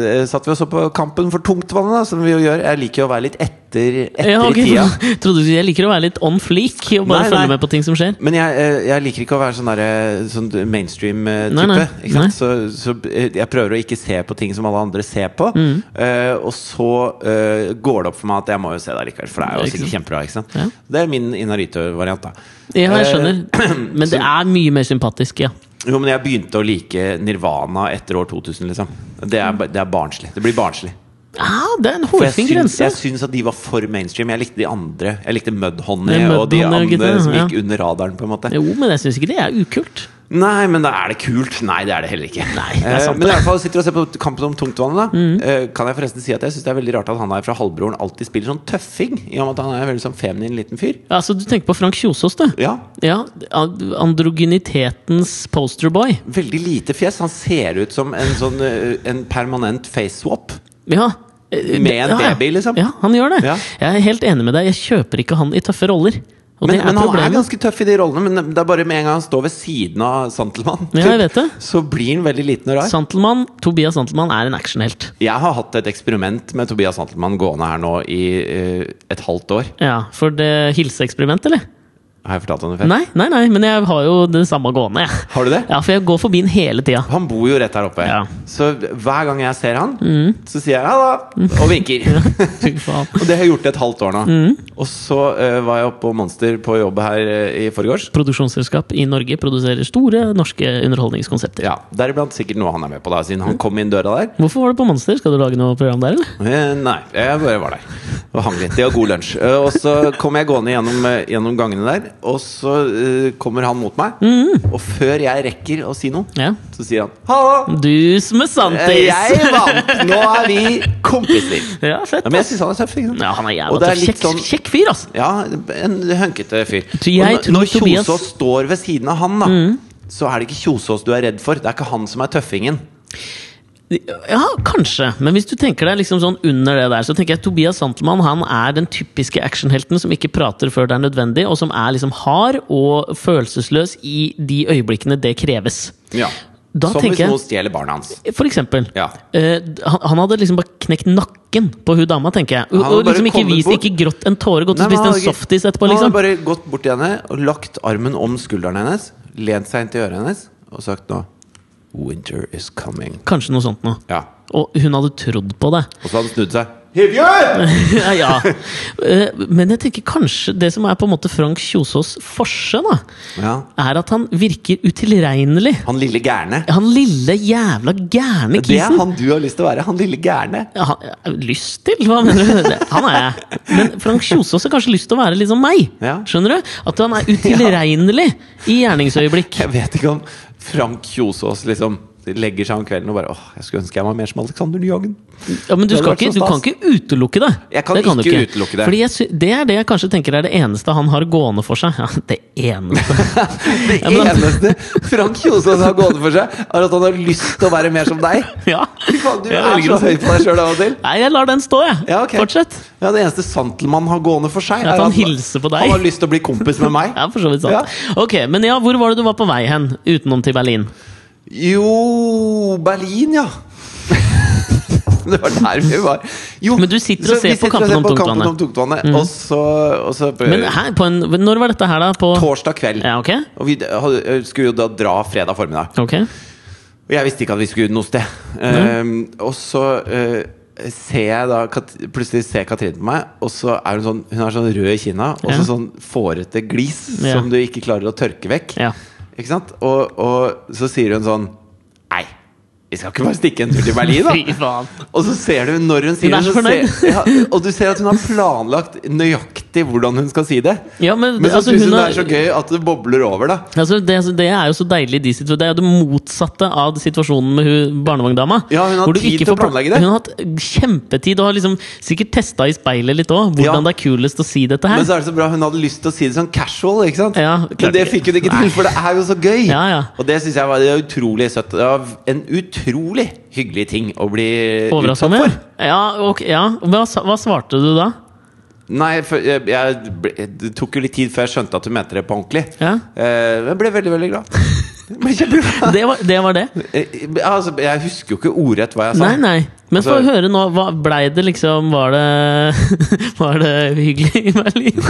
Speaker 1: eh, satt vi og så på Kampen for tungtvannet, da, som vi jo gjør. Jeg liker jo å være litt etter, etter
Speaker 2: Ja, ok.
Speaker 1: i tida.
Speaker 2: Trodde du jeg liker å være litt on fleak og
Speaker 1: Nei,
Speaker 2: bare
Speaker 1: nei.
Speaker 2: følge med på ting som skjer?
Speaker 1: Men jeg, eh, jeg liker ikke å være sånn, der, eh, sånn
Speaker 2: Nei, nei.
Speaker 1: mainstream-type. Så, så eh, jeg prøver å ikke se på ting som alle andre ser på.
Speaker 2: Mm.
Speaker 1: Eh, og så eh, går det opp for meg at jeg må jo se det likevel, for det er jo
Speaker 2: Ikke sant.
Speaker 1: sikkert kjempebra. Ikke sant?
Speaker 2: Ja.
Speaker 1: Det er min Inarito-variant, da.
Speaker 2: Ja, jeg
Speaker 1: Eh,
Speaker 2: skjønner. Men det er mye mer sympatisk, ja.
Speaker 1: Jo, men jeg begynte å like Nirvana etter år 2000, liksom. Det er, ba- det er barnslig. Det blir barnslig.
Speaker 2: Ja, Ah, det er en
Speaker 1: For jeg
Speaker 2: hårfin
Speaker 1: syns,
Speaker 2: grense.
Speaker 1: jeg syns at de var for mainstream. Jeg likte de andre. Jeg likte Mudhoney
Speaker 2: Det er
Speaker 1: og de
Speaker 2: Mudhoney og
Speaker 1: andre
Speaker 2: gitarene,
Speaker 1: som
Speaker 2: ja.
Speaker 1: gikk under radaren, på en måte.
Speaker 2: Jo, men jeg syns ikke det er ukult.
Speaker 1: Nei, men da er det kult. Nei, det er det heller ikke.
Speaker 2: Nei, det er
Speaker 1: Eh,
Speaker 2: sant, Mm.
Speaker 1: men i alle fall sitter og ser på Kampen om tungtvannet. da Eh, Kan jeg forresten si at jeg syns det er veldig rart at han her fra Halvbroren alltid spiller sånn tøffing? I og med at han er en veldig sånn feminin liten fyr.
Speaker 2: Altså, du tenker på Frank Kjosås, du.
Speaker 1: Ja,
Speaker 2: Ja, androgynitetens posterboy.
Speaker 1: Veldig lite fjes. Han ser ut som en sånn eh, En permanent face swap.
Speaker 2: Ja. eh,
Speaker 1: Med
Speaker 2: det-
Speaker 1: en
Speaker 2: ja, ja.
Speaker 1: baby, liksom.
Speaker 2: Ja, han gjør det.
Speaker 1: Ja.
Speaker 2: Jeg er helt enig med deg. Jeg kjøper ikke han i tøffe roller. Og
Speaker 1: Men,
Speaker 2: det er
Speaker 1: men han
Speaker 2: problemet.
Speaker 1: er ganske tøff i de rollene, men det er bare med en gang han står ved siden av Santelmann,
Speaker 2: Ja, jeg vet det.
Speaker 1: så blir han veldig liten og rar.
Speaker 2: Santelmann, Tobias Santelmann er en actionhelt.
Speaker 1: Jeg har hatt et eksperiment med Tobias Santelmann gående her nå i eh, et halvt år.
Speaker 2: Ja, For det hilseeksperiment, eller?
Speaker 1: Har jeg fortalt om det før?
Speaker 2: Nei, nei, nei, men jeg har jo det samme gående, jeg.
Speaker 1: Har du det?
Speaker 2: Ja, for jeg går forbi den hele tida.
Speaker 1: Han bor jo rett her oppe.
Speaker 2: Ja.
Speaker 1: Så hver gang jeg ser han, så sier jeg 'halla' og vinker.
Speaker 2: Fy faen.
Speaker 1: og det har jeg gjort i et halvt år nå. Og så eh, var jeg oppe på Monster på jobb her eh, i forgårs.
Speaker 2: Produksjonsselskap i Norge produserer store norske underholdningskonsepter.
Speaker 1: Ja, Deriblant sikkert noe han er med på, da, siden han kom inn døra der.
Speaker 2: Hvorfor var det på Monster? Skal du lage noe program der, eller?
Speaker 1: Eh, Nei, jeg bare var der og hang litt. De har god lunsj. Eh, Og så kom jeg gående gjennom, eh, gjennom gangene der, og så eh, kommer han mot meg. Og før jeg rekker å si noe,
Speaker 2: Ja.
Speaker 1: så sier han 'halla,
Speaker 2: Du som er santis!
Speaker 1: eh, jeg vant! Nå er vi kompiser'.
Speaker 2: Ja, fett.
Speaker 1: Ja, men jeg syns han er tøff. ikke sant?
Speaker 2: Ja, han er
Speaker 1: Og
Speaker 2: jævla
Speaker 1: det er
Speaker 2: tøff.
Speaker 1: litt
Speaker 2: Kjekk,
Speaker 1: sånn
Speaker 2: kjekk fyr, altså!
Speaker 1: Ja, en hønkete fyr.
Speaker 2: Så jeg
Speaker 1: og
Speaker 2: tror
Speaker 1: når- når
Speaker 2: Tobias- Mm.
Speaker 1: Kjosås står ved siden av han, da, så er det ikke Kjosås du er redd for. Det er ikke han som er tøffingen.
Speaker 2: Ja, kanskje. Men hvis du tenker deg liksom sånn under det der, så tenker jeg at Tobias Santelmann han er den typiske actionhelten som ikke prater før det er nødvendig, og som er liksom hard og følelsesløs i de øyeblikkene det kreves.
Speaker 1: Ja.
Speaker 2: Da
Speaker 1: som
Speaker 2: tenker
Speaker 1: hvis
Speaker 2: jeg-
Speaker 1: noen stjeler barna hans.
Speaker 2: For eksempel.
Speaker 1: Ja.
Speaker 2: Eh, han, han hadde liksom bare knekt nakken på hun dama, tenker jeg. Og,
Speaker 1: hadde
Speaker 2: og
Speaker 1: bare
Speaker 2: liksom ikke
Speaker 1: kommet
Speaker 2: vist,
Speaker 1: bort.
Speaker 2: ikke grått en tåre, gått og
Speaker 1: Nei, men
Speaker 2: spist
Speaker 1: han
Speaker 2: en
Speaker 1: hadde ikke-
Speaker 2: softis etterpå,
Speaker 1: Han
Speaker 2: liksom.
Speaker 1: hadde bare gått bort til henne og lagt armen om skulderen hennes, lent seg inn til øret hennes og sagt nå Winter is coming.
Speaker 2: Kanskje noe sånt noe.
Speaker 1: Ja.
Speaker 2: Og hun hadde trodd på det.
Speaker 1: Og så hadde han snudd seg. Hivjør!
Speaker 2: ja, ja. Eh, Men jeg tenker kanskje det som er på en måte Frank Kjosås forse, da,
Speaker 1: Ja.
Speaker 2: er at han virker utilregnelig.
Speaker 1: Han lille gærne.
Speaker 2: Han lille jævla gærne
Speaker 1: Det er
Speaker 2: kisen.
Speaker 1: han du har lyst til å være. Han lille gærne.
Speaker 2: Ja, Han, ja, lyst til? Hva mener du? Det- Han er jeg. Men Frank Kjosås har kanskje lyst til å være litt som meg.
Speaker 1: Ja.
Speaker 2: Skjønner du? At han er utilregnelig i gjerningsøyeblikk.
Speaker 1: Jeg vet ikke om Frank Kjosås liksom legger seg om kvelden og bare åh, jeg skulle ønske jeg var mer som Alexander Nyhagen.
Speaker 2: Ja, men du,
Speaker 1: Det hadde
Speaker 2: skal
Speaker 1: vært så
Speaker 2: ikke, du kan
Speaker 1: stas.
Speaker 2: ikke utelukke det.
Speaker 1: Jeg kan
Speaker 2: det du
Speaker 1: ikke utelukke det.
Speaker 2: Fordi jeg, sy- det er det jeg kanskje tenker er det eneste han har gående for seg. Ja, det eneste.
Speaker 1: Det
Speaker 2: Ja, men-
Speaker 1: eneste Frank Kjosås har gående for seg, er at han har lyst til å være mer som deg.
Speaker 2: Ja.
Speaker 1: Fy faen, du
Speaker 2: Jeg
Speaker 1: er
Speaker 2: velger
Speaker 1: så
Speaker 2: å si
Speaker 1: høy på deg sjøl av og til.
Speaker 2: Nei, jeg lar den stå, jeg.
Speaker 1: Ja, ok.
Speaker 2: Fortsett.
Speaker 1: Ja, Det eneste Santelmann har gående for seg,
Speaker 2: at han hilser på deg.
Speaker 1: han har lyst til å bli kompis med meg.
Speaker 2: Ja, for så vidt sant. Ok, Men ja, hvor var det du var på vei hen, utenom til Berlin?
Speaker 1: Jo Berlin, ja. Det var der vi var. Jo,
Speaker 2: Men du sitter og
Speaker 1: så
Speaker 2: ser
Speaker 1: vi
Speaker 2: på Kampen
Speaker 1: ser
Speaker 2: om
Speaker 1: på
Speaker 2: tungtvannet. Mm.
Speaker 1: tungtvannet, Og så, og så
Speaker 2: Men hæ, på en, Når var dette her, da? På
Speaker 1: Torsdag kveld.
Speaker 2: Ja, ok?
Speaker 1: Og vi hadde- eh, skulle jo da dra fredag formiddag.
Speaker 2: Ok.
Speaker 1: Og jeg visste ikke at vi skulle noe sted.
Speaker 2: Mhm.
Speaker 1: Ehm, og så eh, ser jeg da Kat plutselig ser Katrine på meg, og så er hun sånn Hun er sånn rød i kinna, og så
Speaker 2: Ja.
Speaker 1: sånn fårete glis
Speaker 2: Ja.
Speaker 1: som du ikke klarer å tørke vekk.
Speaker 2: Ja.
Speaker 1: Ikke sant? Og, og så sier hun sånn Nei, vi skal ikke bare stikke en tur til Berlin, da.
Speaker 2: Fy faen.
Speaker 1: Og så ser du når hun sier
Speaker 2: Hun er så
Speaker 1: så
Speaker 2: fornøyd.
Speaker 1: ser, ja, Og du ser at hun har planlagt nøyaktig hvordan hun skal si det.
Speaker 2: Ja, men,
Speaker 1: Men så
Speaker 2: altså,
Speaker 1: syns
Speaker 2: hun
Speaker 1: hun det er
Speaker 2: har-
Speaker 1: så gøy at det bobler over, da.
Speaker 2: Altså, det, altså, det er jo så deilig i de situasjonene. Det er jo det motsatte av situasjonen med hun barnevogndama.
Speaker 1: Ja, hun har
Speaker 2: Hvor du
Speaker 1: tid
Speaker 2: ikke
Speaker 1: til å
Speaker 2: får pla-
Speaker 1: planlegge det.
Speaker 2: Hun har hatt kjempetid og har liksom sikkert testa i speilet litt òg,
Speaker 1: Ja.
Speaker 2: hvordan det er kulest å si dette
Speaker 1: Men
Speaker 2: her.
Speaker 1: så er det så bra, hun hadde lyst til å si det sånn casual, ikke sant?
Speaker 2: Ja, klart
Speaker 1: Men det
Speaker 2: ikke.
Speaker 1: fikk hun ikke til, for det er jo så gøy!
Speaker 2: Ja, ja.
Speaker 1: Og det syns jeg var det var utrolig søtt. Det var en utrolig hyggelig ting å bli
Speaker 2: Overraska
Speaker 1: utsatt
Speaker 2: med?
Speaker 1: for.
Speaker 2: Ja, ok, ja. Hva, sa- hva svarte du da?
Speaker 1: Nei, for jeg, jeg, ble- det tok jo litt tid før jeg skjønte at hun mente det på ordentlig.
Speaker 2: Ja.
Speaker 1: Eh, men jeg ble veldig, veldig glad. Jeg ble kjempeglad.
Speaker 2: Det var det. Var det.
Speaker 1: Eh, altså, jeg husker jo ikke ordrett hva jeg sa.
Speaker 2: Nei, nei. Men få
Speaker 1: Altså-
Speaker 2: høre nå. Hva blei det liksom Var det, var det hyggelig i Berlin?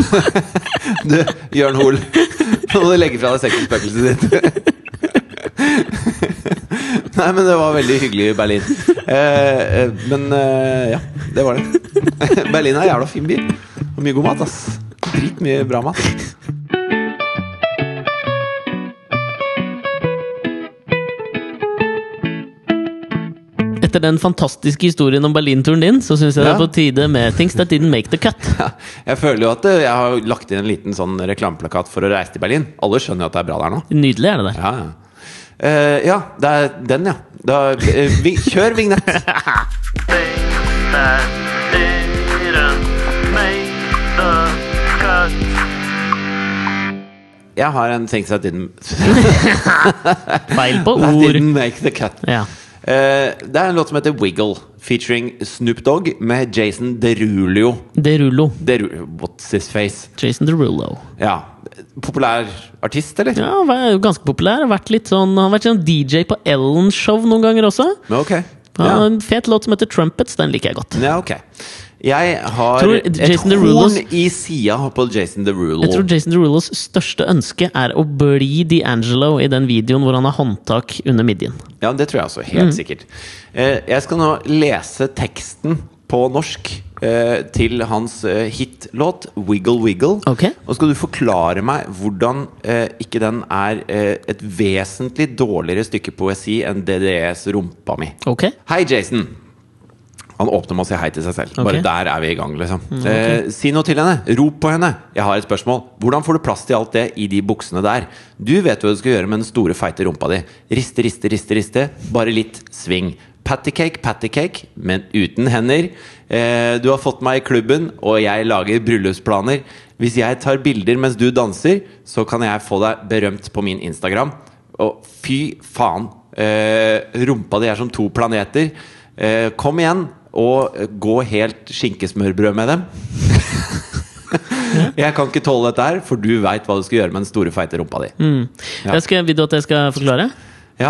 Speaker 1: Du, Jørn Hoel, nå må du legge fra deg sexspøkelset ditt. Nei, men det var veldig hyggelig i Berlin. Eh, eh, men eh, ja, det var det. Berlin er en jævla fin by. Og mye god mat, ass. Dritmye bra mat.
Speaker 2: Etter den fantastiske historien om Berlinturen din, så syns jeg det
Speaker 1: Ja.
Speaker 2: er på tide med Things That Didn't Make The Cut.
Speaker 1: Ja, jeg føler jo at eh, jeg har lagt inn en liten sånn reklameplakat for å reise til Berlin. Alle skjønner jo at det er bra der nå.
Speaker 2: Nydelig er det der.
Speaker 1: Ja, ja. Eh, ja, det er den, ja. Da, eh, vi, kjør vignett!
Speaker 3: things that didn't make the cut.
Speaker 1: Jeg har en things that didn't,
Speaker 2: Feil på
Speaker 1: that
Speaker 2: ord.
Speaker 1: didn't make the cut.
Speaker 2: Ja.
Speaker 1: Eh, det er en låt som heter Wiggle, featuring Snoop Dogg med Jason Derulio.
Speaker 2: Derullo.
Speaker 1: Deru What's his face?
Speaker 2: Jason Derullo.
Speaker 1: Ja. Populær artist, eller?
Speaker 2: Ja, han er jo ganske populær. Har vært litt sånn, han har vært sånn DJ på Ellen-show noen ganger også.
Speaker 1: Men ok.
Speaker 2: Han har
Speaker 1: Ja.
Speaker 2: en fet låt som heter 'Trumpets'. Den liker jeg godt.
Speaker 1: ja, ok. Jeg har
Speaker 2: Tror
Speaker 1: et
Speaker 2: Jason
Speaker 1: horn
Speaker 2: Derulos-
Speaker 1: i sida på Jason Derulo.
Speaker 2: Jeg tror Jason Derulos største ønske er å bli D'Angelo i den videoen hvor han har håndtak under midjen.
Speaker 1: Ja, det tror jeg også. Helt sikkert. Eh, jeg skal nå lese teksten på norsk eh, til hans eh, hitlåt 'Wiggle Wiggle'.
Speaker 2: Ok.
Speaker 1: Og skal du forklare meg hvordan eh, ikke den er eh, et vesentlig dårligere stykke poesi enn DDEs 'Rumpa mi'.
Speaker 2: Ok?
Speaker 1: Hei, Jason! Han åpner med å si hei til seg selv.
Speaker 2: Ok.
Speaker 1: Bare der er vi i gang, liksom. eh, si noe til henne. Rop på henne. Jeg har et spørsmål. Hvordan får du plass til alt det i de buksene der? Du vet hva du skal gjøre med den store, feite rumpa di. Riste, riste, riste, riste. Bare litt sving. Pattycake, pattycake, men uten hender. Eh, du har fått meg i klubben, og jeg lager bryllupsplaner. Hvis jeg tar bilder mens du danser, så kan jeg få deg berømt på min Instagram. Og fy faen. Eh, rumpa di er som to planeter. Eh, kom igjen, og eh, gå helt skinkesmørbrød med dem. jeg kan ikke tåle dette her, for du veit hva du skal gjøre med den store, feite rumpa di.
Speaker 2: Mm.
Speaker 1: Ja.
Speaker 2: Jeg skal, vil du at jeg skal forklare?
Speaker 1: Ja,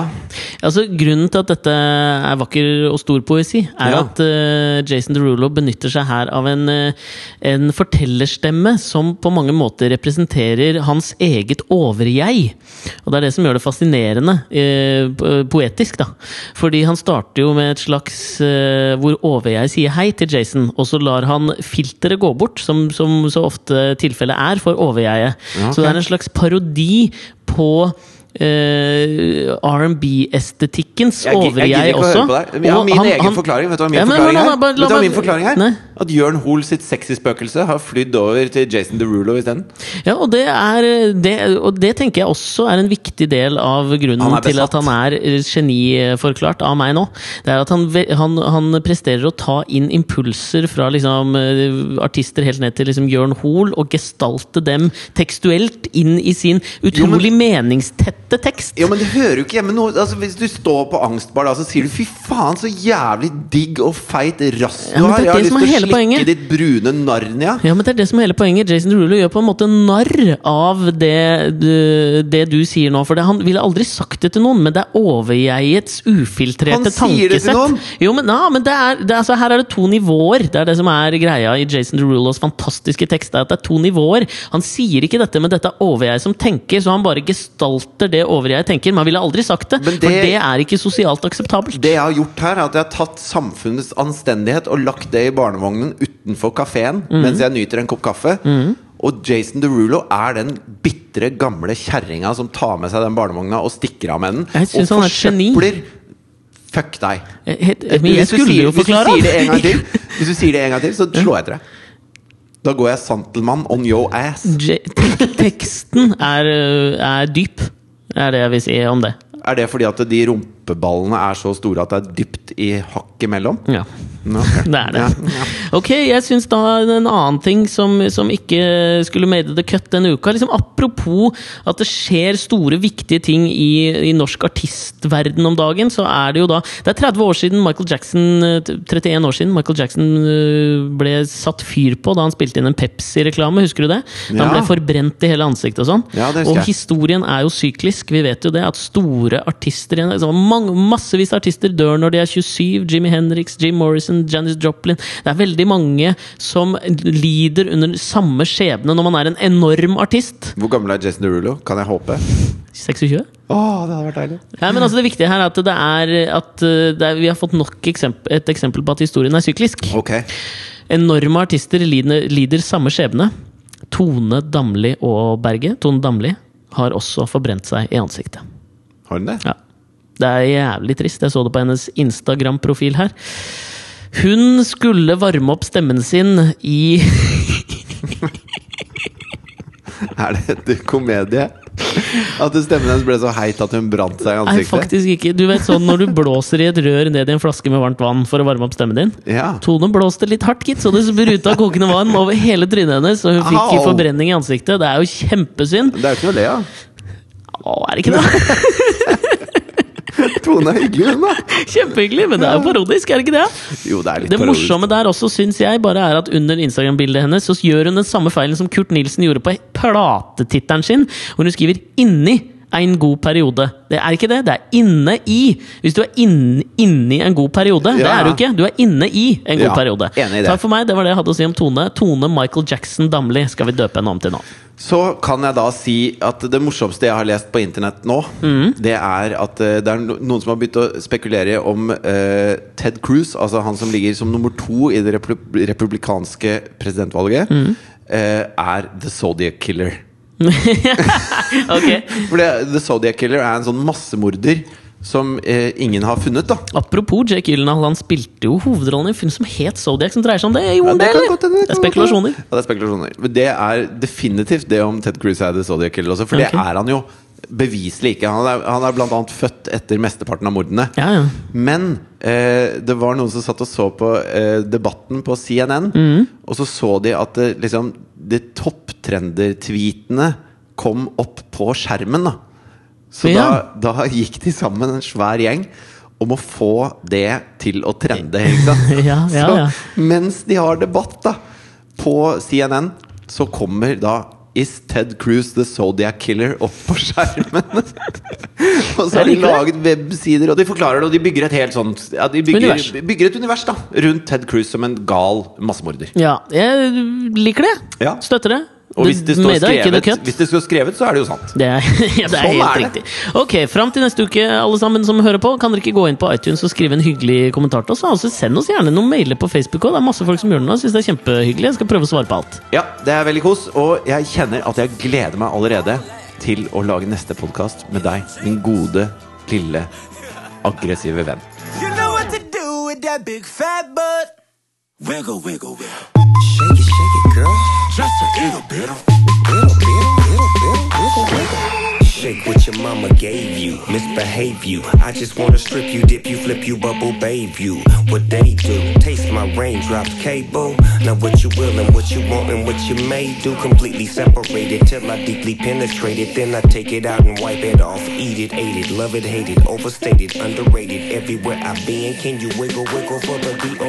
Speaker 2: Altså, grunnen til at dette er vakker og stor poesi, er
Speaker 1: Ja.
Speaker 2: at eh, Jason Derulo benytter seg her av en, eh, en fortellerstemme som på mange måter representerer hans eget overjeg. Og det er det som gjør det fascinerende eh, po- poetisk, da. Fordi han starter jo med et slags eh, hvor overjeg sier hei til Jason, og så lar han filteret gå bort, som, som så ofte tilfellet er for overjeget.
Speaker 1: Ja, ok.
Speaker 2: Så det er en slags parodi på eh, R&B-estetikkens
Speaker 1: jeg, gi- jeg gidder
Speaker 2: overjeg
Speaker 1: ikke
Speaker 2: også.
Speaker 1: å høre på deg. Jeg har
Speaker 2: Og
Speaker 1: min
Speaker 2: han-
Speaker 1: egen
Speaker 2: han-
Speaker 1: forklaring. Vet du hva min
Speaker 2: Ja, men-
Speaker 1: forklaring
Speaker 2: men-
Speaker 1: er?
Speaker 2: men- bare-
Speaker 1: Vet du hva
Speaker 2: la-
Speaker 1: min forklaring er?
Speaker 2: Nei.
Speaker 1: At Jørn Hoel sitt sexy spøkelse har flydd over til Jason Derulo isteden.
Speaker 2: Ja, og det, er, det, og det tenker jeg også er en viktig del av
Speaker 1: Han er
Speaker 2: grunnen til at han er eh, geniforklart av meg nå. Det er at han, ve- han, han presterer å ta inn impulser fra liksom, eh, artister helt ned til liksom Jørn Hoel, og gestalte dem tekstuelt inn i sin utrolig meningstette tekst.
Speaker 1: Ja, men det hører jo ikke hjemme noe altså, Hvis du står på angstbar da, så sier du 'fy faen, så jævlig digg og feit rass du
Speaker 2: Ja, men
Speaker 1: har'.
Speaker 2: det er
Speaker 1: Jeg har
Speaker 2: det
Speaker 1: lyst til å
Speaker 2: som er hele
Speaker 1: slikke
Speaker 2: poenget.
Speaker 1: ditt brune Narnia.
Speaker 2: Ja, men det er det som er hele poenget. Jason Derulo gjør på en måte narr av det, det, det du sier nå. For det, han ville aldri sagt det til noen, men det er overjegets ufiltrerte
Speaker 1: Han
Speaker 2: tankesett.
Speaker 1: sier det til noen!
Speaker 2: Jo, men, ja, men det er, det, er- altså, her er det to nivåer. Det er det som er greia i Jason Derulos fantastiske tekst, er at det er to nivåer. Han sier ikke dette, men dette er overjeg som tenker, så han bare gestalter det overjeg tenker. Men han ville aldri sagt det,
Speaker 1: Men det-
Speaker 2: for det er ikke sosialt akseptabelt.
Speaker 1: Det jeg har gjort her, er at jeg har tatt samfunnets anstendighet og lagt det i barnevognen utenfor kafeen
Speaker 2: Mhm.
Speaker 1: mens jeg nyter en kopp kaffe. Og Jason Derulo er den bitre, gamle kjerringa som tar med seg den barnevogna og stikker av med den.
Speaker 2: Jeg synes
Speaker 1: og
Speaker 2: han er et geni.
Speaker 1: forsøpler- Fuck deg.
Speaker 2: Eh, Helt- Men jeg
Speaker 1: Hvis du
Speaker 2: skulle
Speaker 1: sier-
Speaker 2: jo forklare
Speaker 1: Hvis du sier det en gang til, hvis du sier det en gang til så slår jeg til deg. Da går jeg santelmann on yo ass.
Speaker 2: Je- tek- Teksten er, ø, er dyp, er det jeg vil si om det.
Speaker 1: Er det fordi at de rumpeballene er så store at det er dypt i hakket imellom?
Speaker 2: Ja,
Speaker 1: Nå, ok.
Speaker 2: det er det.
Speaker 1: Ja,
Speaker 2: Ok, jeg syns da en annen ting som, som ikke skulle made the cut denne uka liksom Apropos at det skjer store, viktige ting i, i norsk artistverden om dagen, så er det jo da Det er 30 år siden Michael Jackson ø, 31 år siden Michael Jackson ø, ble satt fyr på da han spilte inn en Pepsi-reklame, husker du det? Da han
Speaker 1: Ja.
Speaker 2: ble forbrent i hele ansiktet og sånn.
Speaker 1: Ja, det husker
Speaker 2: og
Speaker 1: jeg.
Speaker 2: historien er jo syklisk. Vi vet jo det at store artister altså mange, Massevis av artister dør når de er 27. Jimmy Henriks, Jim Morrison, Janis Joplin Det er veldig mange som lider under samme skjebne når man er en enorm artist.
Speaker 1: Hvor gammel er Jason Derulo? Kan jeg håpe?
Speaker 2: 26?
Speaker 1: Å, det hadde vært deilig.
Speaker 2: Nei, men altså Det viktige her er at, det er at eh, det er, vi har fått nok eksempel, et eksempel på at historien er syklisk.
Speaker 1: Ok.
Speaker 2: Enorme artister lider, lider samme skjebne. Tone Damli og Berge Tone Damli har også forbrent seg i ansiktet.
Speaker 1: Har den det?
Speaker 2: Ja. Det er jævlig trist. Jeg så det på hennes Instagram-profil her. Hun skulle varme opp stemmen sin i
Speaker 1: Er det et komedie? At stemmen hennes ble så heit at hun brant seg i
Speaker 2: Nei,
Speaker 1: ansiktet?
Speaker 2: faktisk ikke. Du vet sånn når du blåser i et rør ned i en flaske med varmt vann for å varme opp stemmen din?
Speaker 1: Ja.
Speaker 2: Tone blåste litt hardt, gitt, så det spruta kokende vann over hele trynet hennes. Og hun fikk
Speaker 1: Au.
Speaker 2: forbrenning i ansiktet. Det er jo kjempesynd.
Speaker 1: Det er jo ikke noe å le av.
Speaker 2: Å, er det ikke det?
Speaker 1: Tone er hyggelig, hun, da.
Speaker 2: Kjempehyggelig, men det er jo parodisk, er det ikke det?
Speaker 1: Jo, det er litt
Speaker 2: Det
Speaker 1: parodisk.
Speaker 2: morsomme der også, syns jeg, bare er at under Instagram-bildet hennes så gjør hun den samme feilen som Kurt Nilsen gjorde på platetittelen sin, hvor hun skriver 'inni'. En god periode. Det er ikke det, det er inne i. Hvis du er inn, inni en god periode. Det
Speaker 1: Ja.
Speaker 2: er du ikke. Du er inne i en god
Speaker 1: Ja,
Speaker 2: periode.
Speaker 1: enig i det.
Speaker 2: Takk for meg, det var det jeg hadde å si om Tone. Tone Michael Jackson Damli skal vi døpe henne om til nå.
Speaker 1: Så kan jeg da si at det morsomste jeg har lest på internett nå, det er at eh, det er no- noen som har begynt å spekulere om eh, Ted Cruz, altså han som ligger som nummer to i det replu- republikanske presidentvalget, eh, er The Zodiac Killer.
Speaker 2: Ok.
Speaker 1: For det, The Zodiac Killer er en sånn massemorder som eh, ingen har funnet, da.
Speaker 2: Apropos Jake Gyllenhaal, han spilte jo hovedrollen i en film som het Zodiac, som dreier seg om det.
Speaker 1: Ja,
Speaker 2: Gjorde han
Speaker 1: det kan
Speaker 2: det,
Speaker 1: godt hende,
Speaker 2: eller?
Speaker 1: det
Speaker 2: Det er
Speaker 1: kan godt hende.
Speaker 2: spekulasjoner.
Speaker 1: Ja, det er spekulasjoner. Men det er definitivt det om Ted Cruz er The Zodiac Killer også, for
Speaker 2: Ok.
Speaker 1: det er han jo beviselig ikke. Han er, han er blant annet født etter mesteparten av mordene.
Speaker 2: Ja, ja.
Speaker 1: Men eh, det var noen som satt og så på eh, debatten på CNN,
Speaker 2: Mhm.
Speaker 1: og så så de at det, liksom, de topptrender-tweetene kom opp på skjermen. Da. Så
Speaker 2: Ja.
Speaker 1: da, da gikk de sammen, en svær gjeng, om å få det til å trende. Ikke sant?
Speaker 2: Ja, ja, ja.
Speaker 1: Så mens de har debatt da på CNN, så kommer da Is Ted Cruz the Zodiac Killer opp på skjermen? Og så har de
Speaker 2: Jeg liker det.
Speaker 1: laget websider, og de forklarer det, og de bygger et helt sånt ja, De bygger,
Speaker 2: Univers.
Speaker 1: bygger et univers da rundt Ted Cruz som en gal massemorder.
Speaker 2: Ja, jeg liker det.
Speaker 1: Ja.
Speaker 2: Støtter det.
Speaker 1: Og hvis det, står
Speaker 2: mener jeg ikke noe
Speaker 1: skrevet,
Speaker 2: kødd.
Speaker 1: hvis det står skrevet, så er det jo sant.
Speaker 2: Det er, ja, det er
Speaker 1: Sånn
Speaker 2: helt
Speaker 1: er det.
Speaker 2: riktig. Ok, Fram til neste uke, alle sammen som hører på, kan dere ikke gå inn på iTunes og skrive en hyggelig kommentar til oss? Og så send oss gjerne noen mailer på Facebook òg. Det er masse folk som gjør det nå. Jeg synes det er kjempehyggelig. Jeg skal prøve å svare på alt.
Speaker 1: Ja, det er veldig kos, og jeg kjenner at jeg gleder meg allerede til å lage neste podkast med deg, min gode, lille, aggressive venn.
Speaker 4: You know what to do with that big fat butt. Wiggle, wiggle, wiggle. Shake it, shake it, girl. Just a little bit. Little bit, little bit, wiggle, wiggle. Shake what your mama gave you, misbehave you. I just wanna strip you, dip you, flip you, bubble babe you. What they do, taste my raindrops, cable. Now what you will and what you want and what you may do, completely separated till I deeply penetrate it. Then I take it out and wipe it off, eat it, ate it, love it, hate it, overstated, underrated. Everywhere I've been, can you wiggle, wiggle for the beat